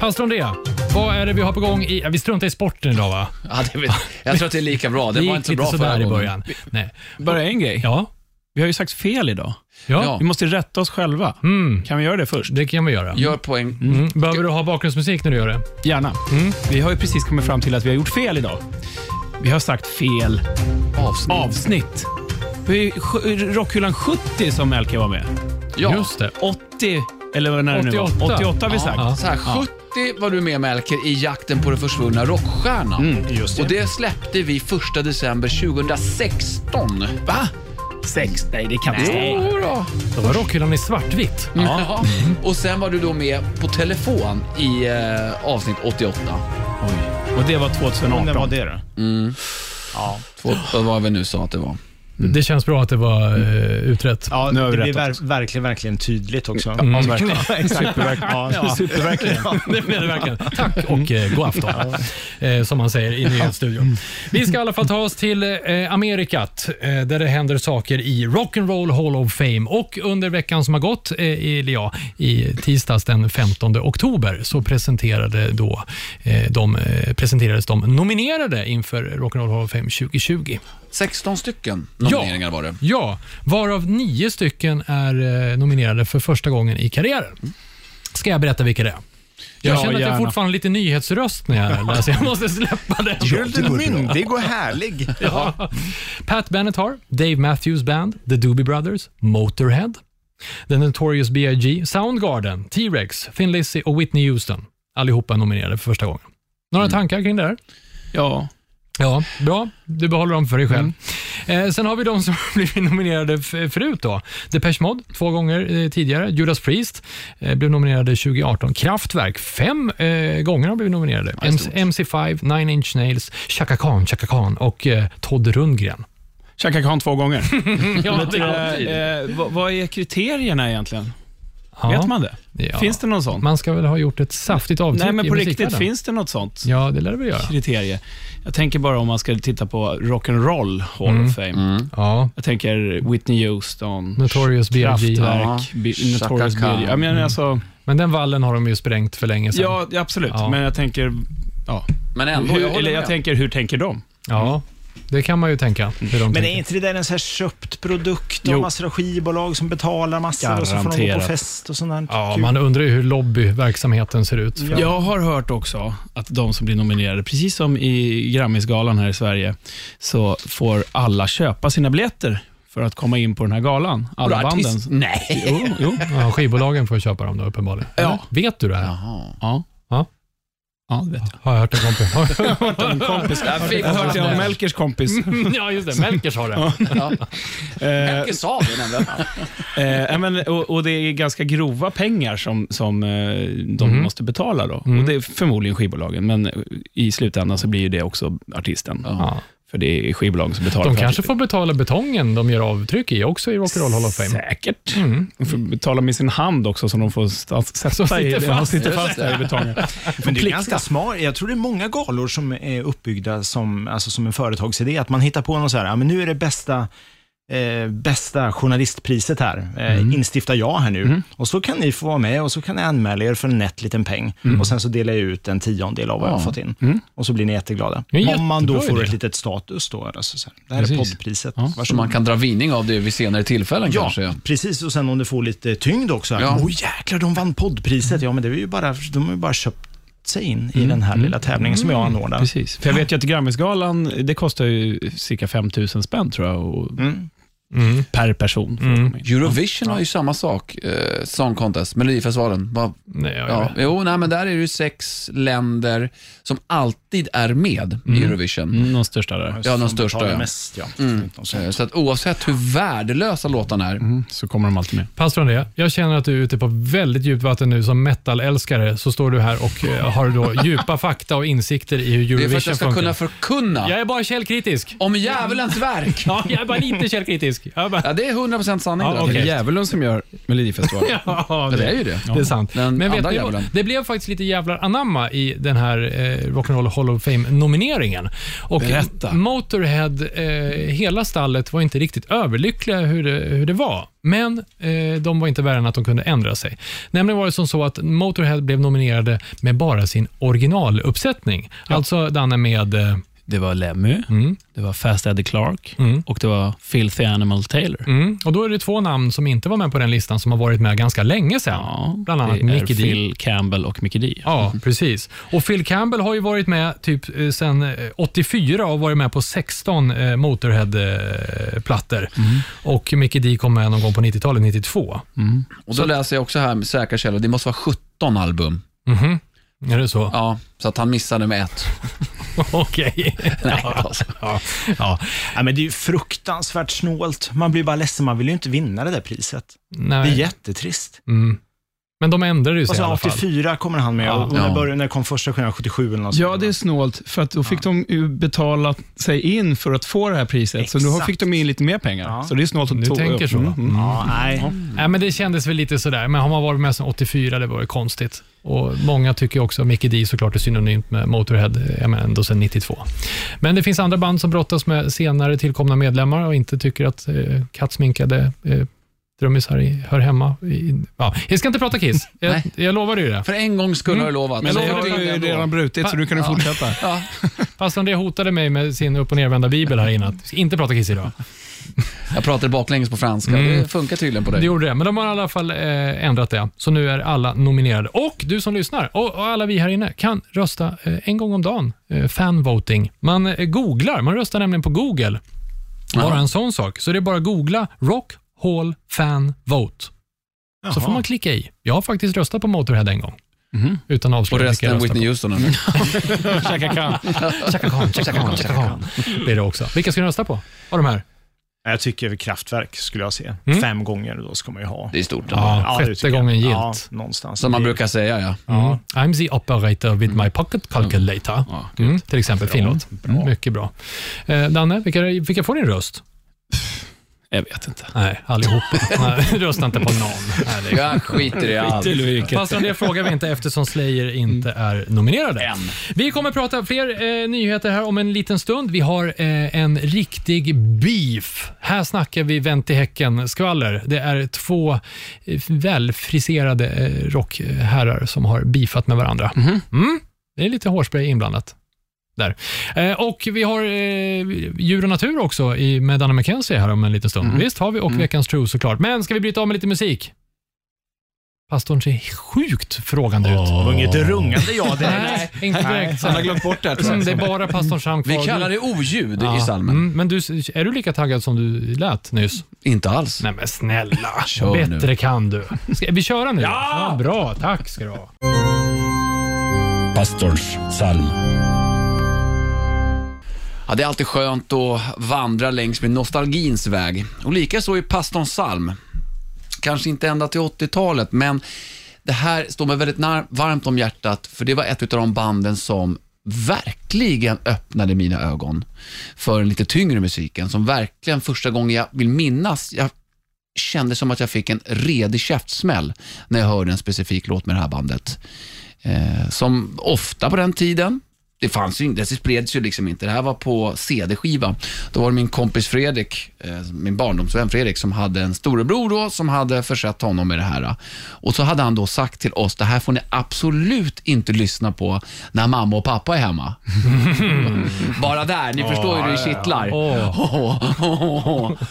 Pastor Andrea, vad är det vi har på gång i... ja, Vi struntar i sporten idag va?
Ja, det vet, jag tror att det är lika bra. Det
Det
var
gick
inte så
lite
bra
sådär
förra
i
gången.
början. Nej.
Bara en grej.
Ja,
Vi har ju sagt fel idag.
ja,
Ja.
Vi måste rätta oss själva. Kan vi göra det först?
det kan vi göra.
Gör poäng.
Mm. Behöver du ha bakgrundsmusik när du gör det?
Gärna. Vi har ju precis kommit fram till att vi har gjort fel idag. Vi har sagt fel
Avsnitt.
avsnitt. Vi, Rockhyllan 70 som LK var med.
Ja.
Just det.
80, eller vad är det nu var?
88.
88 har vi
Ja,
sagt.
ja.
Så här, 70 var du med Melker i jakten på den försvunna rockstjärnan.
Just
Och
det.
det släppte vi 1 december 2016.
Va? Sex? Nej, det kan inte stämma.
Jodå.
Då var Rockhyllan i svartvitt.
Äh. Ja. Mm. Och sen var du då med på telefon i eh, avsnitt 88.
Och det var
Om det
2018.
var det då.
Två, vad var vi nu sa att det var.
Mm. Det känns bra att det var eh, utrett.
Ja,
Nu har vi
det blir
rättat
ver- verkligen, verkligen tydligt också. Mm.
Ja, verkligen.
Ja, superverkligen.
Det blev det verkligen. Tack och eh, god afton, eh, som man säger i nyhetsstudion. Vi ska i alla fall ta oss till eh, Amerikat, eh, där det händer saker i Rock'n'Roll Hall of Fame. Och under veckan som har gått, eh, i- eller ja, i tisdags den 15 oktober, så presenterade då, eh, de, eh, presenterades de nominerade inför Rock'n'Roll Hall of Fame 2020.
16 stycken nomineringar var det.
Ja, varav nio stycken är eh, nominerade för första gången i karriären. Ska jag berätta vilka det är? Jag
Ja,
känner att jag
gärna.
fortfarande har lite nyhetsröst när jag läser. Jag måste släppa det.
Gylden myndig och härlig.
Ja. Pat Bennett har Dave Matthews Band, The Doobie Brothers, Motorhead, The Notorious B.I.G., Soundgarden, T-Rex, Thin Lizzy och Whitney Houston. Allihopa är nominerade för första gången. Några
Mm.
tankar kring det här?
Ja.
Ja, bra. Du behåller dem för dig själv.
Mm.
Eh, sen har vi de som har blivit nominerade f- förut. då. Depeche Mode, två gånger eh, tidigare. Judas Priest eh, blev nominerade 2018. Kraftwerk, fem eh, gånger har blivit nominerade. MC- MC5, Nine Inch Nails, Chaka Khan, Chaka Khan och eh, Todd Rundgren.
Chaka Khan två gånger.
Ja,
Men, eh, eh, vad, vad är kriterierna egentligen? Vet man det?
Ja.
Finns det någon sån?
Man ska väl ha gjort ett saftigt avtryck
Nej, men
i
på riktigt,
musikvärlden.
finns det något sånt?
Ja, det lär det väl göra.
Kriterie. Jag tänker bara om man ska titta på Rock'n'Roll Hall
Mm.
of Fame.
Ja.
Jag tänker Whitney Houston,
Notorious B.I.G.
Kraftwerk,
Ja.
B- Notorious
Chaka Khan.
B.I.G. Jag menar
Mm.
alltså,
Men den vallen har de ju sprängt för länge sedan.
ja absolut,
Ja.
men jag tänker, ja.
Men ändå, jag
Hur,
håller
eller jag
med.
tänker, hur tänker de?
Ja, det kan man ju tänka. Hur de
Men
tänker.
är inte det där en så här köpt produkt
Jo.
och massor av skivbolag som betalar massor och så får de gå på
Garanterat.
fest och sånt där?
Ja,
Kul.
man undrar ju hur lobbyverksamheten ser ut.
Ja.
Jag har hört också att de som blir nominerade, precis som i Grammisgalan här i Sverige, så får alla köpa sina biljetter för att komma in på den här galan. Alla banden.
Artist? Nej.
Jo, jo.
Ja, skivbolagen får köpa dem då uppenbarligen.
Ja.
Vet du det här?
Jaha.
Ja.
Ja.
Ja, det vet jag.
Har jag hört en kompis? Har jag hört en
Kompis.
Jag fick
Jag har hört det av
det.
Melkers kompis.
ja, just det. Melkers har det.
Eh,
Melker sa det nämligen.
Eh, ja, men, och, och det är ganska grova pengar som, som eh, de
Mhm.
måste betala. Då. Och det är förmodligen skivbolagen, men i slutändan så blir ju det också artisten.
Ja.
För det är skivbolagen som betalar.
De
för
kanske
artisten.
får betala betongen de gör avtryck i också i Rock and Roll Hall of
Mm.
Fame.
Säkert. De får betala med sin hand också, som de får sta- sätta
Som
i.
sitter
det. Han
fast.
sitter fast där i betongen.
Men det är
Plikta.
ganska smart. Jag tror det är många galor som är uppbyggda som, alltså som en företagsidé. Att man hittar på någon så här, "Ja, men nu är det bästa, eh, bästa journalistpriset här. Eh,
Mm.
Instiftar jag här nu. Och så kan ni få vara med och så kan ni anmäla er för en nätt liten peng.
Mm.
Och sen så delar jag ut en tiondel av vad jag har fått in. Och så blir ni jätteglada.
Det är en
Om man då
jättebra
får
idé.
ett litet status då. Alltså så här, det här är
Precis.
poddpriset.
Så man kan dra vinning av det vid senare tillfällen
Ja,
kanske.
precis. Och sen om du får lite tyngd också. Åh
Ja.
jäklar, de vann poddpriset. Ja, men det är ju bara, de har ju bara köpt sig in i den här lilla tävlingen som jag anordnar.
Precis. För jag vet ju att Grammisgalan, det kostar ju cirka 5 000 spänn tror jag, och,
Mm.
per person. för att komma in.
Eurovision har ju samma sak, eh, Song Contest, Melodifestivalen. Vad-
Nej, jag
Ja, jo, nej, men där är det ju sex länder som alltid är med i Eurovision.
Mm, de största där.
Ja, de
Som
största.
betalar
Ja.
Mest, ja.
Eh, Så att oavsett hur värdelösa låtarna är,
Mm, så kommer de alltid med.
Pass från det. Jag känner att du är ute på väldigt djupt vatten nu som metalälskare. Så står du här och eh, har då djupa fakta och insikter i hur
det är för
Eurovision
att jag ska
funkar.
kunna förkunna
Jag är bara källkritisk.
om djävulens verk.
Ja, jag är bara lite källkritisk. Jag är bara...
Ja, det är 100% sanning.
Ja,
det där.
okej.
Det är djävulen som gör Melodifestivalen.
Ja,
Ja, det är ju det.
Det är sant.
Den
Men vet
andra
ni, vad?
djävulen.
det blev faktiskt lite jävlar anamma i den här eh, Rock'n'Roll Hall of Fame-nomineringen. Och
Berätta.
Motorhead, eh, hela stallet var inte riktigt överlyckliga hur det, hur det var. Men eh, de var inte värre än att de kunde ändra sig. Nämligen var det som så att Motorhead blev nominerade med bara sin originaluppsättning. Alltså Danne med... Eh,
Det var Lemmy, det var Fast Eddie Clark och det var Filthy Animal Taylor.
mm, och då är det två namn som inte var med på den listan som har varit med ganska länge sedan. Bland annat
det är
Mickey D.
Phil Campbell och Mickey D.
Ja, precis. Och Phil Campbell har ju varit med typ eh, sen eh, 84 och varit med på 16 eh, Motorhead-plattor. Och Mickey D kom med någon gång på 90-talet, 92.
Och då läser jag också här med säkra källor, det måste vara 17 album.
Mhm. Är det så?
Ja, så att han missade med ett.
Okej.
Nej, alltså.
Ja. Ja.
Ja, men det är ju fruktansvärt snålt. Man blir bara ledsen, man vill ju inte vinna det där priset. Det är Alltså,
Nej.
jättetrist.
Mm. Men de ändrade ju sig
Och
i
sen
alla fall.
84 kommer han med och och
Ja.
när, började, när kom första skivan? 77 eller något
Ja,
sånt.
det är snålt, för att då fick de ju betala sig in för att få det här priset, så då
Exakt.
fick de in lite mer pengar.
Ja.
Så det är snålt att Mm,
Du
ta-
tänker så, va?
Ja, nej.
Nej, men det kändes väl lite sådär, men har man varit med sedan 84, det var ju konstigt. Och Många tycker ju också att Mickey D såklart är synonymt med Motorhead, eh, jag menar ändå sedan 92. Men det finns andra band som brottas med senare tillkomna medlemmar och inte tycker att eh, kattsminkade eh, trummisar i- hör hemma. I, ja. Jag ska inte prata Kiss, jag,
Nej.
jag lovade ju det.
För en gång skulle har du lovat.
Men
Så
det
det
jag
har
har
fick
du
in
ju
den då.
redan brutit, så du kan ju fortsätta.
Ja.
Fast det hotade mig med sin upp och nervända bibel här innan. Ska Inte prata Kiss idag.
Jag pratade baklänges på franska, Mm. det funkar tydligen på dig.
Det gjorde det, men de har i alla fall eh, ändrat det. Så nu är alla nominerade. Och du som lyssnar och, och alla vi här inne kan rösta eh, en gång om dagen. Eh, fanvoting. Man eh, googlar, man röstar nämligen på Google. Bara en sån sak. Så det är bara att googla Rock Hall Fan Vote. Så får man klicka i. Jag har faktiskt röstat på Motorhead en gång. Utan att
Mhm. Och
avslöja vilka jag
resten
röstar på.
Whitney Houston. eller?
Chaka Khan.
Chaka Khan, Chaka Khan, Chaka Khan. Blir det också. Vilka ska ni rösta på? Av de här?
Jag tycker kraftverk skulle jag se. Fem gånger då ska man ju ha.
Det är stort.
Ja,
det
sjätte
tycker jag.
gången gilt.
Ja, någonstans.
Som man
Det-
brukar säga, ja.
Mm. I'm the operator with my pocket calculator. Mm. Till exempel, fin låt. Mycket bra. Eh, Danne, vilka, vilka får din röst?
Jag vet inte.
Nej, allihopa. Nej, rösta inte på någon. Nej, det är-
Jag skiter i allt.
Fast om det frågar vi inte eftersom Slayer inte är nominerade.
Än.
Vi kommer prata fler eh, nyheter här om en liten stund. Vi har eh, en riktig beef. Här snackar vi vänt i häcken-skvaller. Det är två eh, välfriserade eh, rockherrar som har beefat med varandra.
Mhm.
Mm. Det är lite hårspray inblandat. Där. Eh, och vi har eh, djur och natur också i, med Danne
Mm.
McKenzie här om en liten stund. Visst har vi och veckans tro såklart. Men ska vi bryta av med lite musik? Pastorn ser sjukt frågande
Det
ut.
var inget rungande ja direkt.
Nej, inte direkt. så
Han
här.
har glömt bort det här, tror jag.
Mm, det är bara pastorn
Vi
Samfag.
kallar det oljud i salmen.
Mm, men du, är du lika taggad som du lät nyss?
Inte alls.
Nej men snälla,
Kör nu.
bättre kan du. Ska vi köra nu? Ja! Bra, tack ska du ha.
Pastors psalm.
Ja, det är alltid skönt att vandra längs med nostalgins väg. Och likaså i pastorns psalm. Kanske inte ända till 80-talet, men det här står mig väldigt nar- varmt om hjärtat, för det var ett av de banden som verkligen öppnade mina ögon för den lite tyngre musiken, som verkligen första gången jag vill minnas, jag kände som att jag fick en redig käftsmäll när jag hörde en specifik låt med det här bandet. Eh, som ofta på den tiden, det fanns ju inte, det spreds ju liksom inte. Det här var på CD-skiva. Då var det min kompis Fredrik, eh, min barndomsvän Fredrik, som hade en storebror då, som hade försett honom med det här. eh. Och så hade han då sagt till oss, det här får ni absolut inte lyssna på när mamma och pappa är hemma. bara där, ni förstår ju hur det kittlar.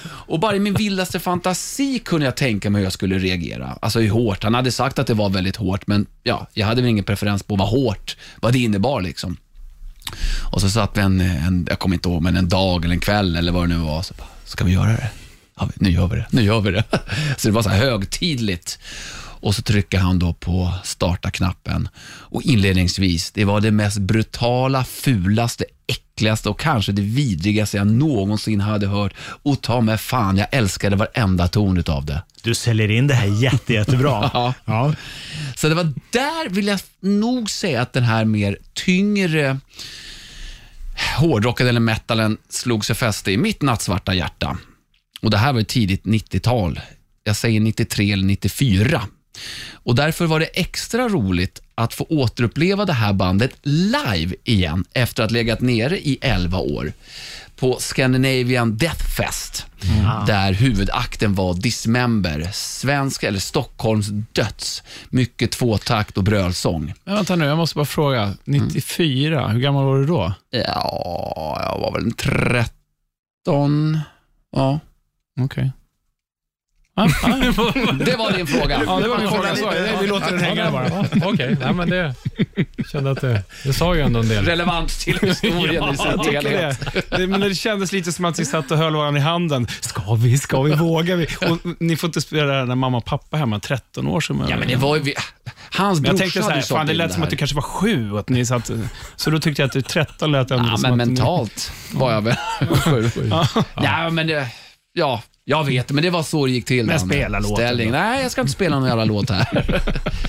Och bara i min vildaste fantasi kunde jag tänka mig hur jag skulle reagera. Alltså hur hårt. Han hade sagt att det var väldigt hårt, men ja, jag hade väl ingen preferens på vad hårt, vad det innebar liksom. Och så satt vi en, en jag kommer inte ihåg, men en dag eller en kväll eller vad det nu var. Så bara, ska vi göra det? Ja, nu gör vi det. Nu gör vi det. Så det var så här högtidligt. Och så trycker han då på starta-knappen. Och inledningsvis, det var det mest brutala, fulaste, äckligaste och kanske det vidrigaste jag någonsin hade hört. Och ta mig fan, jag älskade varenda ton utav det.
Du säljer in det här jätte, jättebra.
Ja.
Ja.
Så det var där vill jag nog säga att den här mer tyngre hårdrocken eller metalen slog sig fäste i mitt nattsvarta hjärta. Och det här var ju tidigt 90-tal. Jag säger 93 eller 94. Och därför var det extra roligt att få återuppleva det här bandet live igen efter att legat nere i 11 år på Scandinavian Death Fest där huvudakten var Dismember, svensk eller Stockholms döds. Mycket tvåtakt och brölsång.
Men vänta nu, jag måste bara fråga. 94, hur gammal var du då?
Ja, jag var väl en 13. Ja,
Okej. Ah, ah,
det var din fråga.
ja, det var min fråga.
Kolla
Så,
lite.
eh, Vi låter den hänga bara.
Ja, Okej, nej, men det kände att det, det sa ju ändå en del.
Relevant till historien i sin
Jag tycker
helhet.
det. Det, men det kändes lite som att vi satt och höll varandra i handen. Ska vi, ska vi, vågar vi? Och, ni får inte spela det här när mamma och pappa är hemma, 13 år. Som
Ja, men det var ju... vi- Hans
Men jag
brorsa
tänkte så här,
hade ju sålt
fan, det
in
lät som
här.
att du kanske var sju, och att ni satt, så då tyckte jag att du 13 lät ändå
Ja,
som
men
att ni-
mentalt var jag väl sju. ja. men det, ja, jag vet, men det var så det gick till.
Men
Anne.
spela låten
Ställning. Nej, jag ska inte spela någon jävla låt här.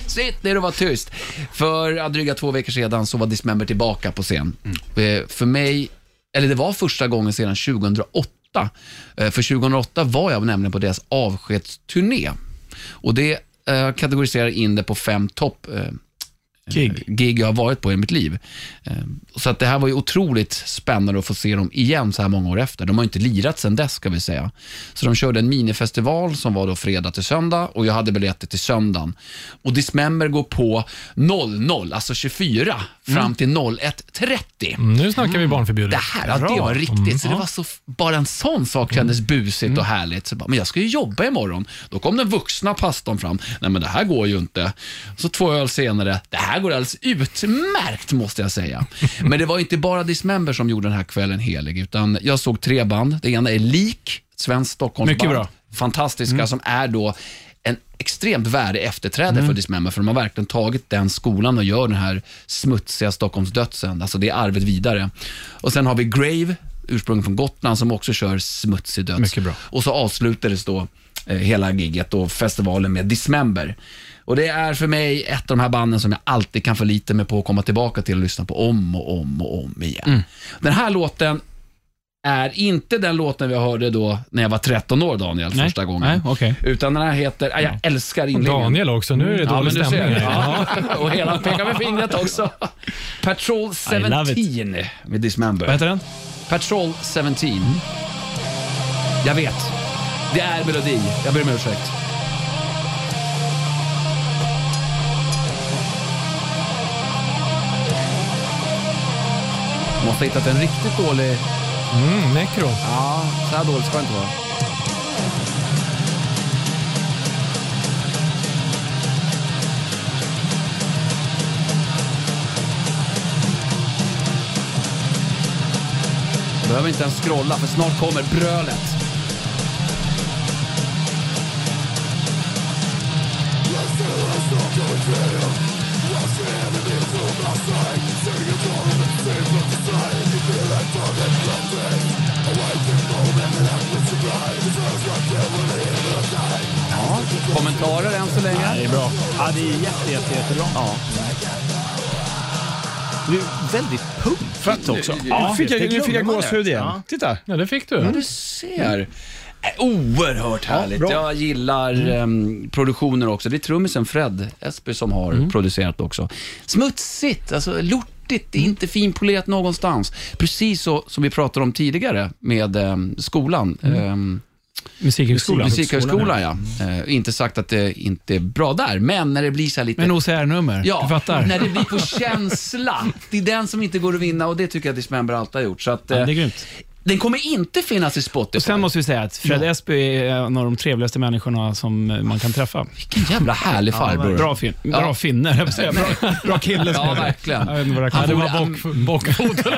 Sitt ner och var tyst. För ja, dryga två veckor sedan så var Dismember tillbaka på scen.
Mm.
Eh, För mig, eller det var första gången sedan 2008. Eh, För 2008 var jag nämligen på deras avskedsturné. Och det eh, kategoriserar in det på fem topp. Eh,
Gig.
gig jag har varit på i mitt liv. Eh, Så att det här var ju otroligt spännande att få se dem igen så här många år efter. De har ju inte lirat sedan dess ska vi säga. Så de körde en minifestival som var då fredag till söndag och jag hade biljetter till söndagen. Och Dismember går på 00, alltså 24, fram till 01.30.
Mm, Nu snackar vi barnförbjudet. Mm.
Det här, att det var riktigt.
Mm,
så det var så, bara en sån sak kändes busigt och härligt. Så jag bara, men jag ska ju jobba imorgon. Då kom den vuxna pastorn fram. Nej men det här går ju inte. Så två öl senare, det här går alldeles utmärkt måste jag säga. men det var inte bara Dismember som gjorde den här kvällen helig, utan jag såg tre band. Det ena är Lik, svenskt Stockholmsband.
Mycket bra.
Fantastiska
Mm.
som är då en extremt värdig efterträdare
Mm.
för Dismember, för de har verkligen tagit den skolan och gör den här smutsiga Stockholmsdödsen, alltså det är arvet vidare. Och sen har vi Grave, ursprung från Gotland, som också kör smutsig döds.
Mycket bra.
Och så avslutades då eh, hela gigget och festivalen med Dismember. Och det är för mig ett av de här banden som jag alltid kan förlita mig på att komma tillbaka till och lyssna på om och om och om igen.
Mm.
Den här låten är inte den låten vi hörde då när jag var 13 år Daniel,
Nej.
första gången.
Nej, okej.
Utan den här heter, ah, jag älskar inledningen.
Daniel också, nu är det
Ja, men
dålig
du
stämning.
ser.
här.
Ja. Och hela pekar med fingret också. Patrol
love it.
17 med
Vad
Dismember.
heter den?
Patrol 17. Jag vet. Det är melodi. Jag ber om ursäkt. Måste ha hittat en riktigt dålig...
Mm, Necro.
Ja, så här dåligt ska det inte vara. Behöver inte ens scrolla, för snart kommer brölet. Ja, kommentarer än så länge?
Det är bra. Ja, det är jätte, jätte, jättebra.
Ja.
Det är väldigt pumpigt också.
nu fick jag,
det
nu fick jag
glömmer man
gåshud
lätt.
igen.
Ja.
Titta.
Ja, det fick du.
Du ser. Äh, Oerhört härligt.
bra.
jag gillar
Mm.
ehm, produktionen också. Det är trummisen Fred Esby som har
Mm.
producerat också. Smutsigt, alltså lortigt, det är
Mm.
inte finpolerat någonstans. Precis så som vi pratade om tidigare med ehm, skolan.
Mm.
ehm,
Musikhögskolan.
Musikhögskolan, ja. Eh, inte sagt att det inte är bra där, men när det blir så här lite...
Men OCR-nummer.
Ja,
Du fattar.
när det blir på känsla. Det är den som inte går att vinna och det tycker jag att Dismember alltid har gjort. Så att, eh,
Ja, det är grymt.
Den kommer inte finnas i Spotify.
Och sen måste vi säga att Fred Esby är en av de trevligaste människorna som eh, man kan träffa.
Vilken jävla härlig farbror.
Bra, fin, bra
Ja.
finne, höll jag på att säga. bra, bra kille. ska
Ja,
jag säga.
verkligen.
Jag vet inte vad det
Han
kan-
Ja, det
borde-
var bock, bockfoten.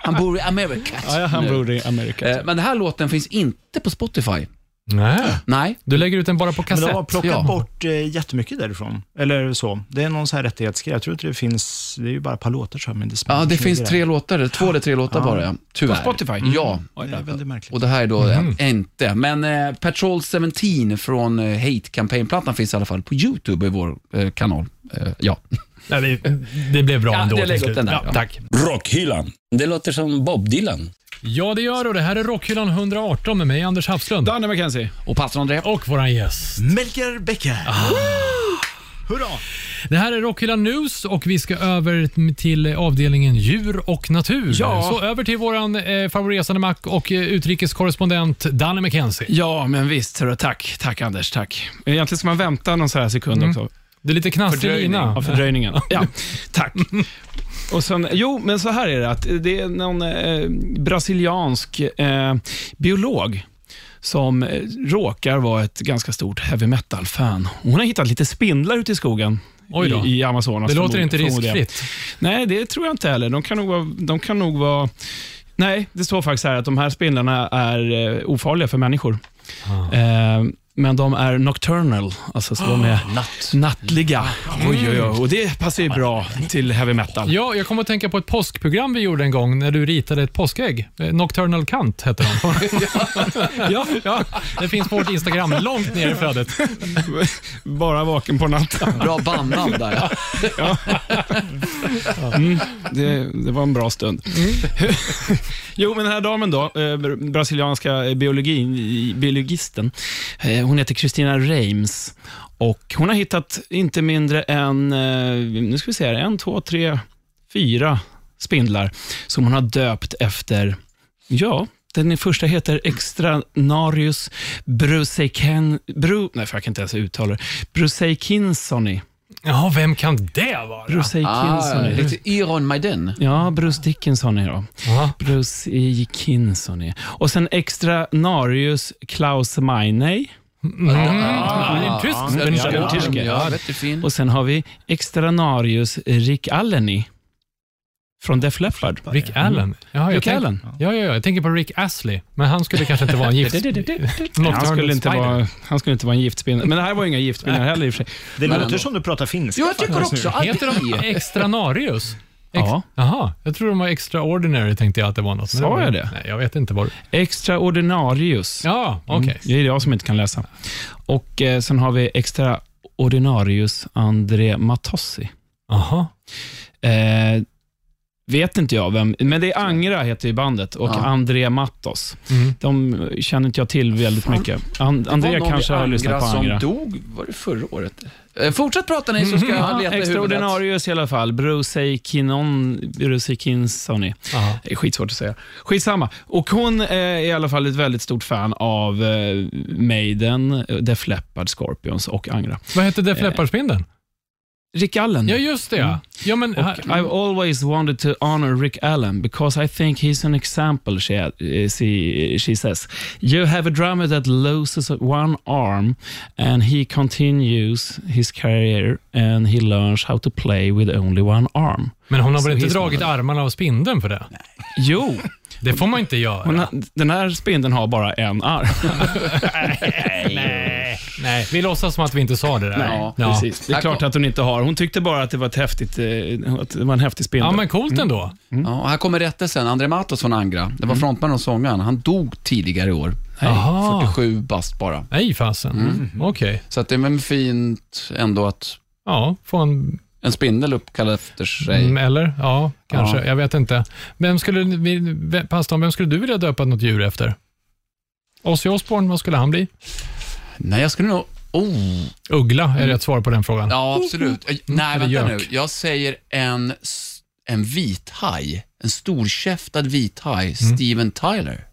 Han bor i Amerika.
Ja, ja, han
nu.
bor i Amerika.
Eh, Men den här låten finns inte på Spotify.
Nej.
Nej.
Du lägger ut den bara på
Men
kassett.
de har plockat
ja.
bort eh, jättemycket därifrån. Eller så. Det är någon sån här rättighetsgrej. Jag tror inte det finns, det är ju bara ett par låtar tror jag. Men det,
Ja, det
smyger
finns
där.
tre låtar, eller två eller tre låtar bara, ja. tyvärr.
På Spotify? Mm.
Ja.
Det är väldigt märkligt.
Och det här är då
Mhm.
en- inte. Men eh, Patrol 17 från eh, Hate Campaign-plattan finns i alla fall på YouTube i vår eh, kanal. Eh, ja.
Nej, det, det blev bra
Ja,
ändå
jag
till
lägger upp
slut.
den där,
ja,
ja.
tack.
Rockhyllan. Det låter som Bob Dylan.
Ja, det gör du. Det här är Rockhyllan 118 med mig, Anders Hafslund.
Danne McKenzie.
Och pastor André.
Och våran gäst.
Melker Becker. Hurra!
Det här är Rockhyllan News och vi ska över till avdelningen djur och natur.
Ja.
Så över till våran eh, favoritresande mack och eh, utrikeskorrespondent Danny McKenzie.
Ja, men visst. hörru, Tack, tack Anders. Tack. Mm. Egentligen ska man vänta någon sån här sekund också.
Det är lite knastrig
Ja,
lina.
fördröjningen. Ja, tack. Och sen, jo, men så här är det. Att det är någon eh, brasiliansk eh, biolog som eh, råkar vara ett ganska stort heavy metal-fan. Hon har hittat lite spindlar ute i skogen.
Oj då.
I, I Amazonas.
Det låter
förmod-
inte
förmodar jag.
riskfritt.
Nej, det tror jag inte heller. De kan nog vara... De kan nog vara Nej, det står faktiskt här att de här spindlarna är eh, ofarliga för människor. Eh, men de är nocturnal, alltså så de är nattliga. Oj, oj, oj. Och det passar ju bra till heavy metal.
Ja, jag kommer att tänka på ett påskprogram vi gjorde en gång när du ritade ett påskägg. Eh, Nocturnal Kant hette de. ja, ja, det finns på vårt Instagram, långt ner i flödet.
Bara vaken på natten.
Bra bandnamn där. ja.
Mm. Det, det var en bra stund. Mm. jo, men den här damen då, eh, br- brasilianska biologin, i- biologisten, eh, hon heter Christina Reims och hon har hittat inte mindre än, eh, nu ska vi se här, en, två, tre, fyra spindlar som hon har döpt efter, ja, den första heter Extranarius bruseiken, bru, nej, för jag kan inte ens uttala det, bruseikinsoni.
Ja, vem kan det vara?
Ah,
Bruseikinsoni.
lite Iron Maiden.
Ja, Bruce Dickinson är då.
Ja.
Bruce E. Kinson är. Och sen extra Narius Klaus Meiney.
Ja, det är en Mm. tysk
Ja,
människa.
ja.
ja,
tyska.
ja, vet du, fin.
Och sen har vi extra Narius Rick Alleny från Def Leppard.
Rick Allen. Ja, jag
Rick
tänk-
Allen.
Ja, ja, ja, jag tänker på Rick Astley, men han skulle kanske inte vara en gift...
Han skulle, inte
Spider.
vara, han skulle inte vara en giftspindel. Men det här var ju inga giftspindlar heller i och för sig.
Det
Men
låter
ändå.
som du pratar finska.
Jo, jag tycker
faktiskt
också
nu.
att
Heter
E?
det
de
är.
Extranarius? Ex-
Ja.
Jaha, jag tror de var extraordinary tänkte jag att det var något. Men
Sa
var-
jag det?
Nej, jag vet inte vad det...
Extra Ordinarius.
Ja, okej.
Mm. Det är jag som inte kan läsa. Och eh, sen har vi extra Ordinarius André Matossi.
Jaha.
Eh, vet inte jag vem, men det är Angra heter ju bandet och
Ja.
André Mattos.
Mm.
De känner inte jag till väldigt mycket. And,
Det var
André
någon
kanske
i
har lyssnat på
som
Angra.
dog, var det förra året? Eh, fortsätt prata ni så ska jag
Ja,
leta i huvudet.
Extraordinarius i alla fall. Bruce Kinon, Bruce Kinsoni.
Jaha.
Det är skitsvårt att säga. Skitsamma. Och hon eh, är i alla fall ett väldigt stort fan av eh, Maiden, eh, Def Leppard, Scorpions och Angra.
Vad hette Def Leppard-spindeln?
Mm. Rick Allen.
Ja, just det.
Mm.
ja. Ja, men... här-
I've always wanted to honor Rick Allen because I think he's an example, she, eh, she, she says. You have a drummer that loses one arm and he continues his career and he learns how to play with only one arm.
Men hon har väl
Så
inte
hissnar
dragit armarna av spindeln för det?
Jo,
Det får man inte göra.
Hon, har- den här spindeln har bara en arm.
Nej. Nej, vi låtsas som att vi inte sa det där.
Ja, precis. Det är
Här
klart
kom-
att hon inte har. Hon tyckte bara att det var, ett häftigt, eh, att det var en häftig spindel.
Ja, men
Mm.
coolt ändå.
Ja, och här kommer rättelsen. André Matos från Angra. Det var frontman och sångaren. Han dog tidigare i år.
Jaha.
47 bast bara.
Nej, fasen.
Mm.
Okej.
Så att det är väl fint ändå att
Ja, få en...
en spindel uppkallad efter sig.
Mm, eller? Ja, kanske.
Ja.
Jag vet inte. Vem skulle, vi- vem- pastorn, vem skulle du vilja döpa något djur efter? Ozzy Osbourne, vad skulle han bli?
Nej, jag skulle nog... Oh,
Uggla är rätt svar på den frågan.
ja, absolut.
Mm.
Eh, Nej,
Eller
vänta nu.
gök.
Jag säger en, s- en vithaj. En storkäftad
Mm.
vithaj. Steven Tyler.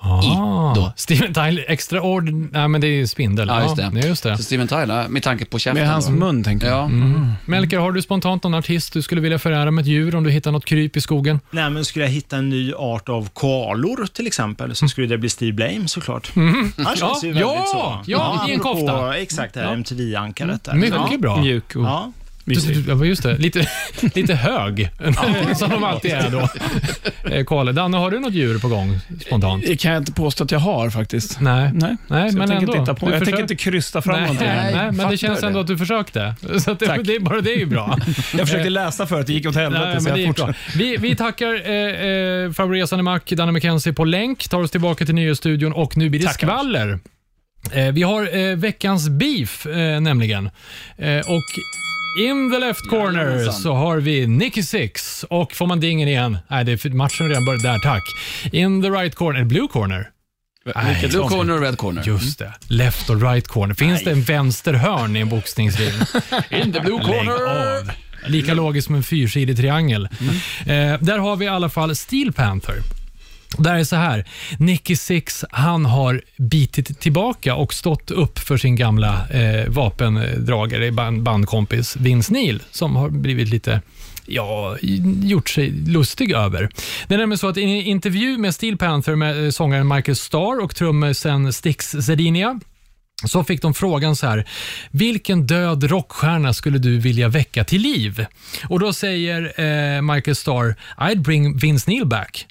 Ah,
då.
Steven Tyler, extra ord... Nej, men det är ju spindel.
Ja, just det.
Ja, just det.
Så Steven Tyler, med tanke på käften.
Med hans
då.
mun, tänker jag.
Ja.
Mm. Melker, har du spontant någon artist du skulle vilja förära med ett djur om du hittar något kryp i skogen?
Nej, men skulle jag hitta en ny art av koalor till exempel, så skulle det bli Steve Blame såklart. Han känns ju
Ja,
väldigt
ja,
så.
ja, i en
apropå
kofta.
Exakt, det
Ja.
här MTV-ankaret där.
Mycket bra.
Mjuk och
Ja.
mysig.
Ja, just det. Lite, lite hög, som de alltid är då. Eh, Karle, Danne, har du något djur på gång spontant?
Det kan jag inte påstå att jag har faktiskt.
Nej.
Nej,
Nej,
Så
men
jag tänker
ändå.
inte hitta på.
Du
Jag tänker
försöker-
inte krysta fram
Nej,
någonting.
nej,
Nej,
men
fattar
det känns ändå
det.
att du försökte. Så att det,
Tack.
det, är bara det är ju bra.
Jag försökte läsa förut, det gick åt helvete.
Nej,
så
men det
jag
gick bra.
fortsatte.
Vi, vi tackar eh, eh, Favoresande Mac, Danne McKenzie på länk, tar oss tillbaka till nyhetsstudion och nu blir det skvaller. Eh, vi har eh, veckans beef eh, nämligen. Eh, och in the left corner så har vi Nicky Six och får man dingen igen? Nej, det är för- matchen har redan börjat. Där, tack. In the right corner, blue corner. Nej,
Blue corner och red corner.
just det. Left och right corner. Finns det en vänsterhörn i en boxningsring?
In the blue
Lägg
corner.
av. Mm. Lika logiskt som en fyrsidig triangel. Eh, där har vi i alla fall Steel Panther. Där är så här, Nicky Six han har bitit tillbaka och stått upp för sin gamla eh, vapendragare, band, bandkompis Vince Neil, som har blivit lite Ja, gjort sig lustig över. Det är nämligen så att i en intervju med Steel Panther med eh, sångaren Michael Starr och trummisen Stix Zedinia så fick de frågan så här, vilken död rockstjärna skulle du vilja väcka till liv? Och då säger eh, Michael Starr, I'd bring Vince Neil back.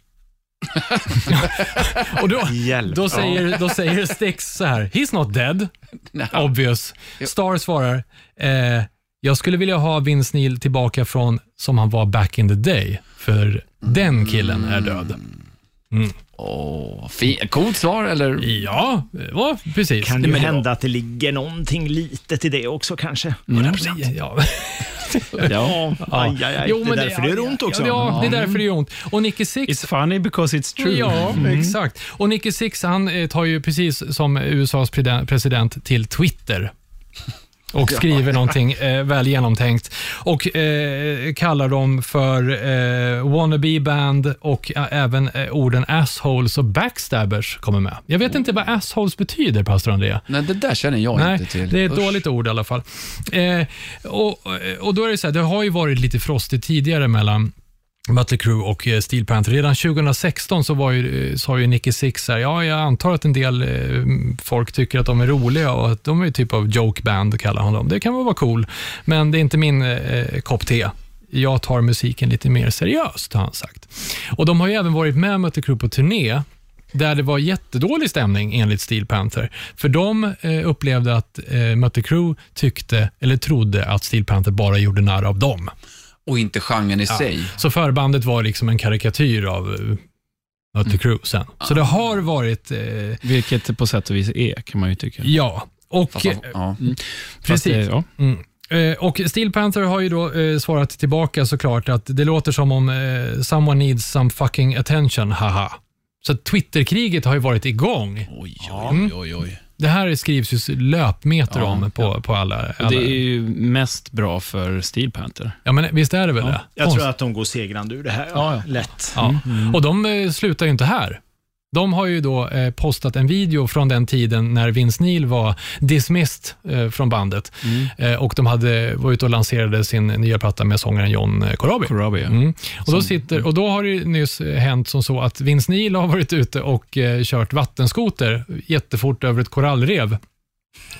och då,
Hjälp.
då säger, då säger Stix så här, he's not dead, obvious. Starr svarar, eh, jag skulle vilja ha Vince Neil tillbaka från som han var back in the day, för den killen är död.
Åh, fi- coolt svar, eller?
Ja, ja precis.
Kan det
Men
ju
det var-
hända att det ligger någonting litet i det också kanske?
Ja.
Mm. Ja, aj, aj, aj.
Jo,
det
men
är därför det, gör ont också. Mm.
Ja, det är därför det gör ont. Och Nicky Six...
It's funny because it's true.
Ja,
Mm.
exakt. Och Nicky Six han eh, tar ju precis som USAs preden- president till Twitter och skriver någonting eh, väl genomtänkt och eh, kallar dem för eh, wannabe band och eh, även eh, orden assholes och backstabbers kommer med. Jag vet inte vad assholes betyder, pastor Andrea.
Nej, det där känner jag
Nej,
inte till.
det är ett
Usch.
dåligt ord i alla fall. Eh, och, och då är det så här, det har ju varit lite frostigt tidigare mellan Mötley Crüe och eh, Steel Panther. Redan 2016 så var ju, eh, sa ju Nicky Six så här, ja, jag antar att en del eh, folk tycker att de är roliga och att de är typ av joke band, kallar han dem. Det kan väl vara cool, men det är inte min eh, kopp te. Jag tar musiken lite mer seriöst, har han sagt. Och de har ju även varit med Mötley Crüe på turné där det var jättedålig stämning enligt Steel Panther. För de eh, upplevde att eh, Mötley Crüe tyckte, eller trodde, att Steel Panther bara gjorde narr av dem.
Och inte genren i sig.
Så förbandet var liksom en karikatyr av eh,
Mm.
Mötley Crüe sen. Så det har varit, eh,
Vilket på sätt och vis är, kan man ju tycka.
ja. Och,
Fast man, ja.
eh,
Fast det-
Precis.
Ja.
Mm. Eh, Och Steel Panther har ju då eh, svarat tillbaka såklart att det låter som om eh, “someone needs some fucking attention, haha”. Så att Twitterkriget har ju varit igång. Mm.
Oj, oj, oj, oj.
Det här skrivs ju löpmeter om på, på alla... alla.
Det är ju mest bra för Steel Panther.
Ja, men visst är det väl det?
Jag
Konst-
tror att de går segrande ur det här.
Ja, ja.
Lätt.
Ja. Och de eh, slutar ju inte här. De har ju då eh, postat en video från den tiden när Vince Neil var dismissed eh, från bandet eh, och de hade var ute och lanserade sin nya platta med sångaren John eh, Corabi.
Corabi, ja.
Mm. Och, då sitter, och då har det ju nyss eh, hänt som så att Vince Neil har varit ute och eh, kört vattenskoter jättefort över ett korallrev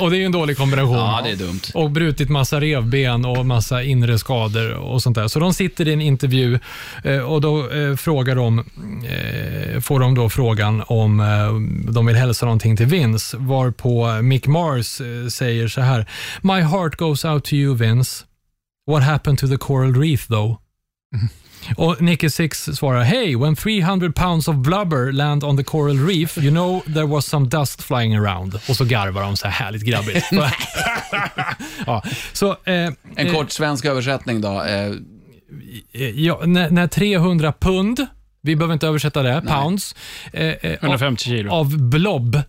och det är ju en dålig kombination.
Ja, det är dumt.
Och brutit massa revben och massa inre skador och sånt där. Så de sitter i en intervju eh, och då eh, frågar de, eh, får de då frågan om eh, de vill hälsa någonting till Vince, varpå Mick Mars eh, säger så här. My heart goes out to you Vince. What happened to the coral reef though? Och Nicky Six svarar Hey, when 300 pounds of blubber land on the coral reef, you know there was some dust flying around. Och så garvar de så här härligt grabbigt. ja, så, eh,
En kort svensk översättning då. Eh,
ja, när, när 300 pund, vi behöver inte översätta det, pounds, eh, eh, av,
150 kilo.
av blob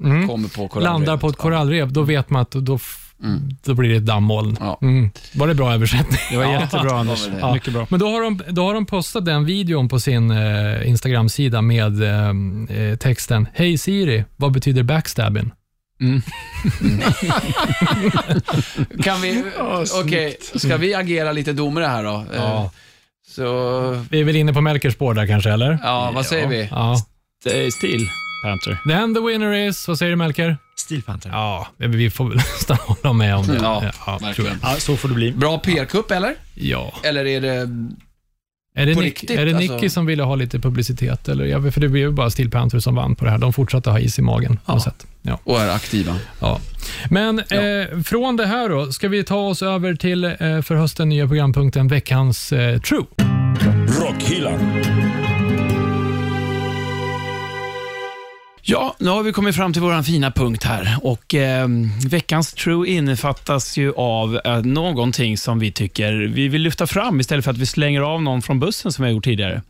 Kommer på korallrevet.
Mm. landar på ett korallrev, då vet man att då, f- då blir det ett dammoln.
Ja.
Mm. Var det bra översättning?
Det var jättebra Anders.
det.
Ja. Mycket bra.
Men då har, de, då har de postat den videon på sin eh, Instagram-sida med eh, eh, texten Hej Siri, vad betyder backstabbing?
Kan vi... Okej, ska vi agera lite domare här då? Eh, Så...
Vi är väl inne på Melkers spår där kanske, eller?
Ja, vad säger vi?
Ja. Eh,
Det är stil, Panther.
Then the winner is, vad säger du Melker?
Steel Panther. Ja.
Ja, men vi får väl nästan hålla med om det.
Ja,
tror
verkligen.
jag.
så får det bli.
Bra PR-kupp eller?
Ja.
Eller är det...
Är det,
På
Nick,
riktigt,
är det Nicky
alltså.
som ville ha lite publicitet? Eller? Jag vet, för det blev ju bara Steel Panther som vann på det här. De fortsatte ha is i magen. På något sätt. Ja.
Och är aktiva?
Ja. Men Eh, från det här då, ska vi ta oss över till eh, för hösten nya programpunkten veckans eh, True.
Rockhyllan.
Ja, nu har vi kommit fram till vår fina punkt här. Och eh, Veckans True innefattas ju av eh, någonting som vi tycker vi vill lyfta fram istället för att vi slänger av någon från bussen som vi har gjort tidigare.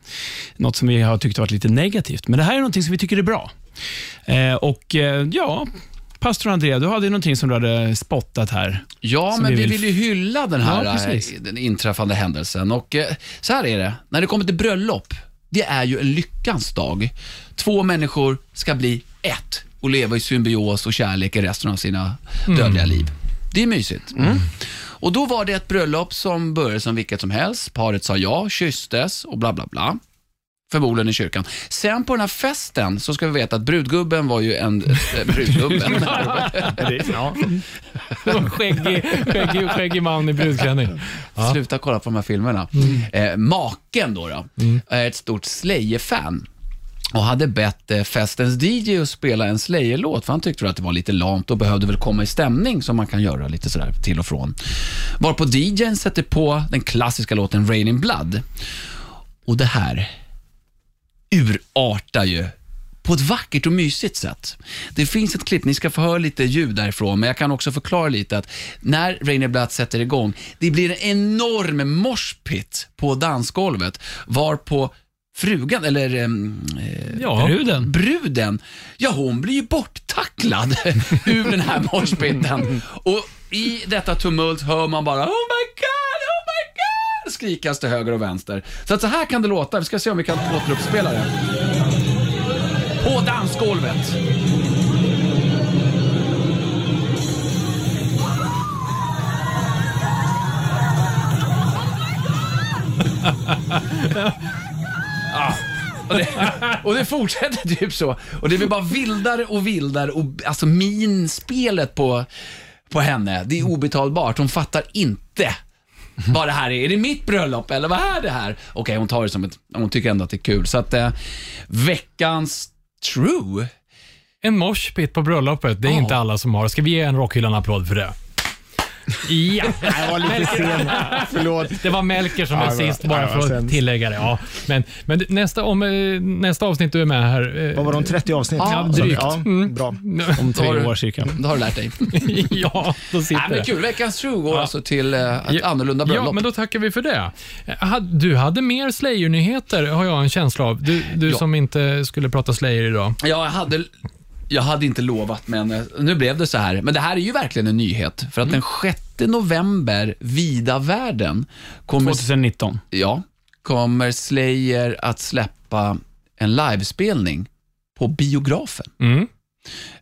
Något som vi har tyckt varit lite negativt. Men det här är någonting som vi tycker är bra. Eh, och eh, ja, pastor Andrea, du hade ju någonting som du hade spottat här.
Ja,
Som
men
vi
vi
vill-
vill ju hylla den här
Ja, precis.
eh, den inträffande händelsen. Och eh, så här är det, när det kommer till bröllop, det är ju en lyckans dag. Två människor ska bli ett och leva i symbios och kärlek i resten av sina
Mm.
dödliga liv. Det är mysigt. Mm. Och då var det ett bröllop som började som vilket som helst. Paret sa ja, kysstes och bla bla bla. Förmodligen i kyrkan. Sen på den här festen så ska vi veta att brudgubben var ju en... eh, brudgubben.
Det var en Skäggig, skäggig, skäggig man i brudklänning.
Sluta kolla på de här filmerna. Eh, maken då, då är ett stort Slayer-fan och hade bett eh, festens DJ att spela en Slayer-låt, för han tyckte väl att det var lite lamt och behövde väl komma i stämning som man kan göra lite sådär till och från. Varpå DJn sätter på den klassiska låten Rain in Blood. Och det här urartar ju på ett vackert och mysigt sätt. Det finns ett klipp, ni ska få höra lite ljud därifrån, men jag kan också förklara lite att när Rainer Blatt sätter igång, det blir en enorm morspit på dansgolvet, varpå frugan, eller ehm, eh,
Ja.
Bruden.
bruden, ja hon blir ju borttacklad ur den här morspitten. Och i detta tumult hör man bara Oh my god, oh my god! Skrikas till höger och vänster. Så att så här kan det låta, vi ska se om vi kan återuppspela det. På dansgolvet. Och det, och det fortsätter typ så. Och det blir bara vildare och vildare och alltså minspelet på, på henne, det är obetalbart. Hon fattar inte vad det här är. Är det mitt bröllop eller vad är det här? Okej, hon tar det som ett, hon tycker ändå att det är kul. Så att eh, veckans true.
En moshpit på bröllopet, det är inte alla som har. Ska vi ge en rockhyllan applåd för det? Ja,
Jag var lite sen. Förlåt.
det var Melker som var
Ja, det var-
sist, bara
ja, det var
för att
sen.
tillägga det. Ja. Men, men det- nästa, om, eh, nästa avsnitt du är med här. eh,
Vad var de, 30 avsnitt?
Ja, drygt. Mm.
Ja, bra.
Om tre
Har du-
år cirka.
Det har du lärt dig.
ja, då sitter
Nej, men
det.
kul. Veckans true går alltså till eh, ett annorlunda bröllop.
Ja, men då tackar vi för det. Eh, had- Du hade mer Slayer-nyheter, har jag en känsla av. Du, du
Ja.
som inte skulle prata Slayer idag.
Ja, jag hade, jag hade inte lovat, men eh, nu blev det så här. Men det här är ju verkligen en nyhet, för att
Mm.
den 6 november, vida världen, kommer,
2019.
ja, kommer Slayer att släppa en livespelning på biografen.
Mm.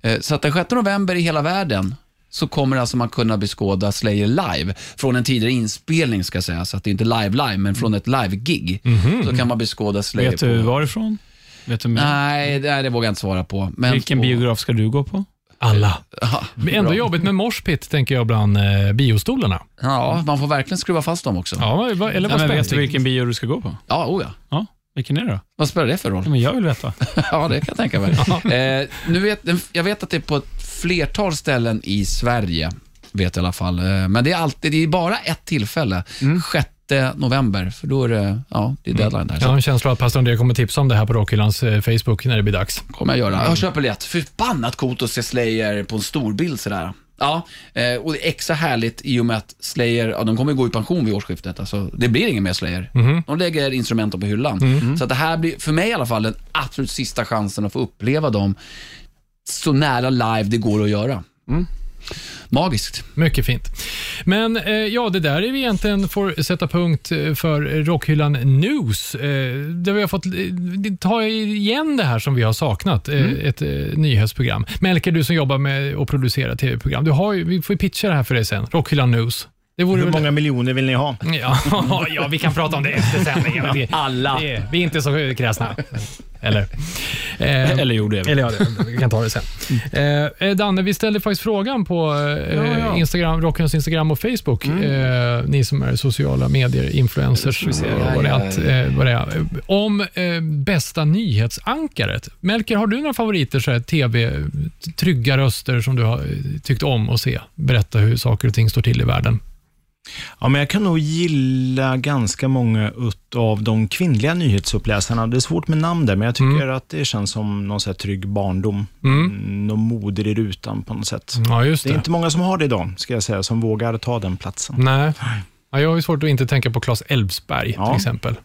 Eh, Så att den 6 november i hela världen så kommer alltså man kunna beskåda Slayer live från en tidigare inspelning ska sägas, så att det är inte live live, men från ett live-gig. Så kan man beskåda Slayer
Mhm, Vet du
på...
varifrån? Vet du mer?
Nej, det, nej, det vågar jag inte svara på. Men,
Vilken
och-
biograf ska du gå på?
Alla.
Ja,
Men ändå
bra.
jobbigt med morspit, tänker jag, bland eh, biostolarna.
Ja, man får verkligen skruva fast dem också. Ja,
Ja, vad- vad- eller vad
Nej, men vet du
spännande.
vilken bio du ska gå på?
ja oh ja.
Ja, vilken är det då?
Vad spelar det för
Ja,
roll?
men jag vill veta.
ja, det kan jag tänka mig. eh, nu vet, jag vet att det är på ett flertal ställen i Sverige, vet jag i alla fall. Eh, men det är, alltid, det är bara ett tillfälle, 6 november, för då är det, ja, det är deadline där.
Jag
Så
har en känsla att pastor André kommer tipsa om det här på Rockhyllans eh, Facebook när det blir dags.
kommer jag göra. Jag köper biljett. Förbannat coolt att se Slayer på en storbild sådär. Ja, eh, och det är extra härligt i och med att Slayer, ja, de kommer ju gå i pension vid årsskiftet. Alltså, det blir ingen mer Slayer. De lägger instrumenten på hyllan. Så att det här blir, för mig i alla fall, den absolut sista chansen att få uppleva dem så nära live det går att göra. Magiskt.
Mycket fint. Men eh, ja, det där är vi egentligen får sätta punkt eh, för Rockhyllan News. Eh, där vi har fått eh, ta igen det här som vi har saknat, eh,
Mm.
ett eh, nyhetsprogram. Melker, du som jobbar med att producera tv-program, du har, ju- vi får ju pitcha det här för dig sen. Rockhyllan News. Det vore
Hur
väl-
många miljoner vill ni ha?
Ja, ja, vi kan prata om det efter sändningen. Vi-
Alla.
Vi, vi är inte så kräsna. Eller? Eh,
Eller gjorde jag.
eller ja, det- vi kan ta det sen. Eh, Eh, Danne, vi ställde faktiskt frågan på eh, Instagram, Rockens Instagram och Facebook. Eh, ni som är sociala medier, influencers och vad det, är, allt, eh, vad det är. Om eh, bästa nyhetsankaret. Melker, har du några favoriter, så här, tv, trygga röster som du har eh, tyckt om att se? Berätta hur saker och ting står till i världen.
Ja, men jag kan nog gilla ganska många av de kvinnliga nyhetsuppläsarna. Det är svårt med namn där, men jag tycker att det känns som någon så här trygg barndom. Mm. Någon moder i rutan på något sätt.
Ja, just
Det är inte många som har det idag, ska jag säga, som vågar ta den platsen.
Nej. Ja, jag har ju svårt att inte tänka på Claes Elfsberg
Ja.
till exempel. Det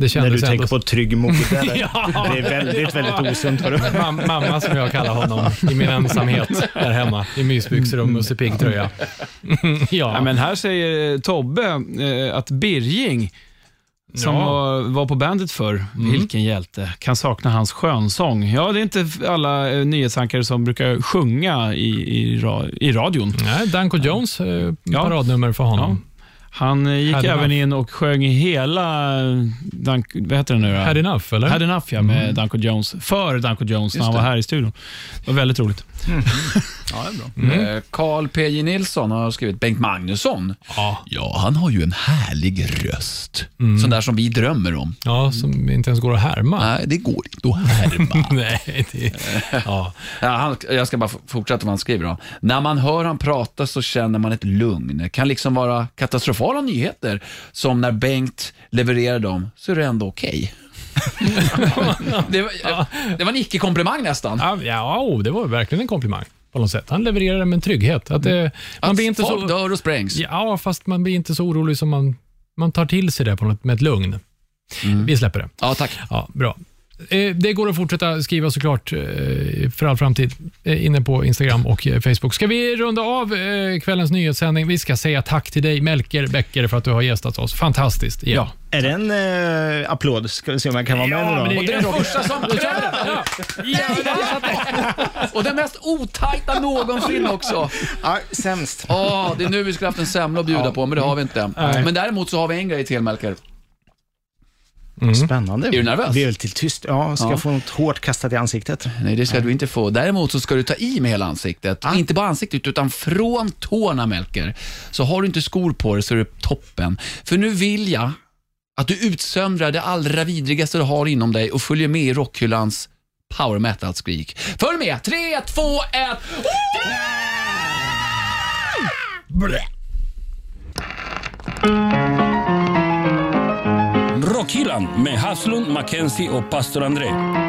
När du
kändes
tänker
ändå...
på trygg moder.
Ja.
Det är väldigt, väldigt osunt. hörru.
Mam- mamma som jag kallar honom i min ensamhet där hemma. I mysbyxor och Musse Pigg-tröja.
Ja,
Ja.
men här säger eh, Tobbe eh, att Birging, som
Ja.
var, var på bandet för vilken hjälte, kan sakna hans skönsång. Ja, det är inte alla eh, nyhetsankare som brukar sjunga i, i, ra, i radion.
Nej, Danko Jones eh,
Ja.
paradnummer för honom.
Han eh, gick
Had
även
Enough.
in och sjöng i hela, eh, Dunk, vad heter den nu då?
Had enough, eller?
Had Enough, ja, med Danko Jones, för Danko Jones när han var här i studion. Det var väldigt roligt.
Eh, Carl P.J. Nilsson har skrivit Bengt Magnusson.
Ja.
Ja, han har ju en härlig röst. Sån där som vi drömmer om.
ja, som inte ens går att härma.
Nej, det går inte att härma.
Nej, det, ja.
Ja, han, jag ska bara f- fortsätta vad han skriver. Då. När man hör han prata så känner man ett lugn. kan liksom vara katastrofala nyheter, som när Bengt levererar dem, så är det ändå okej. det, var- det var en icke-komplimang nästan.
Ja, ja, oh, det var verkligen en komplimang på något sätt. Han levererar det med en trygghet. Att, eh, man
Att
blir inte
folk
så...
dör och sprängs.
Ja, fast man blir inte så orolig som man... Man tar till sig det på något, med ett lugn. Vi släpper det.
Ja, tack.
Ja, bra. Eh, Det går att fortsätta skriva såklart eh, för all framtid eh, inne på Instagram och eh, Facebook. Ska vi runda av eh, kvällens nyhetssändning? Vi ska säga tack till dig, Melker Bäcker, för att du har gästat oss. Fantastiskt. Ja.
Är det en eh, applåd? Ska vi se om jag kan vara med nu då?
men
Och det är den första som kräver
Ja.
Och den mest otajta någonsin också.
Ja, sämst.
Ja, det är nu vi skulle haft en semla att bjuda på, men det har vi inte. Men däremot så har vi en grej till, Melker.
Spännande. Är
Mm. du nervös?
Blir lite tyst. Ja, ska
Ja.
jag få något hårt kastat i ansiktet?
Nej, det ska du inte få. Däremot så ska du ta i med hela ansiktet. Inte bara ansiktet, utan från tårna, Melker. Så har du inte skor på dig så är det toppen. För nu vill jag att du utsöndrar det allra vidrigaste du har inom dig och följer med i rockhyllans power metal-skrik. Följ med! Tre, två, ett.
Rockhyllan med Haslund, Mackenzie och pastor André.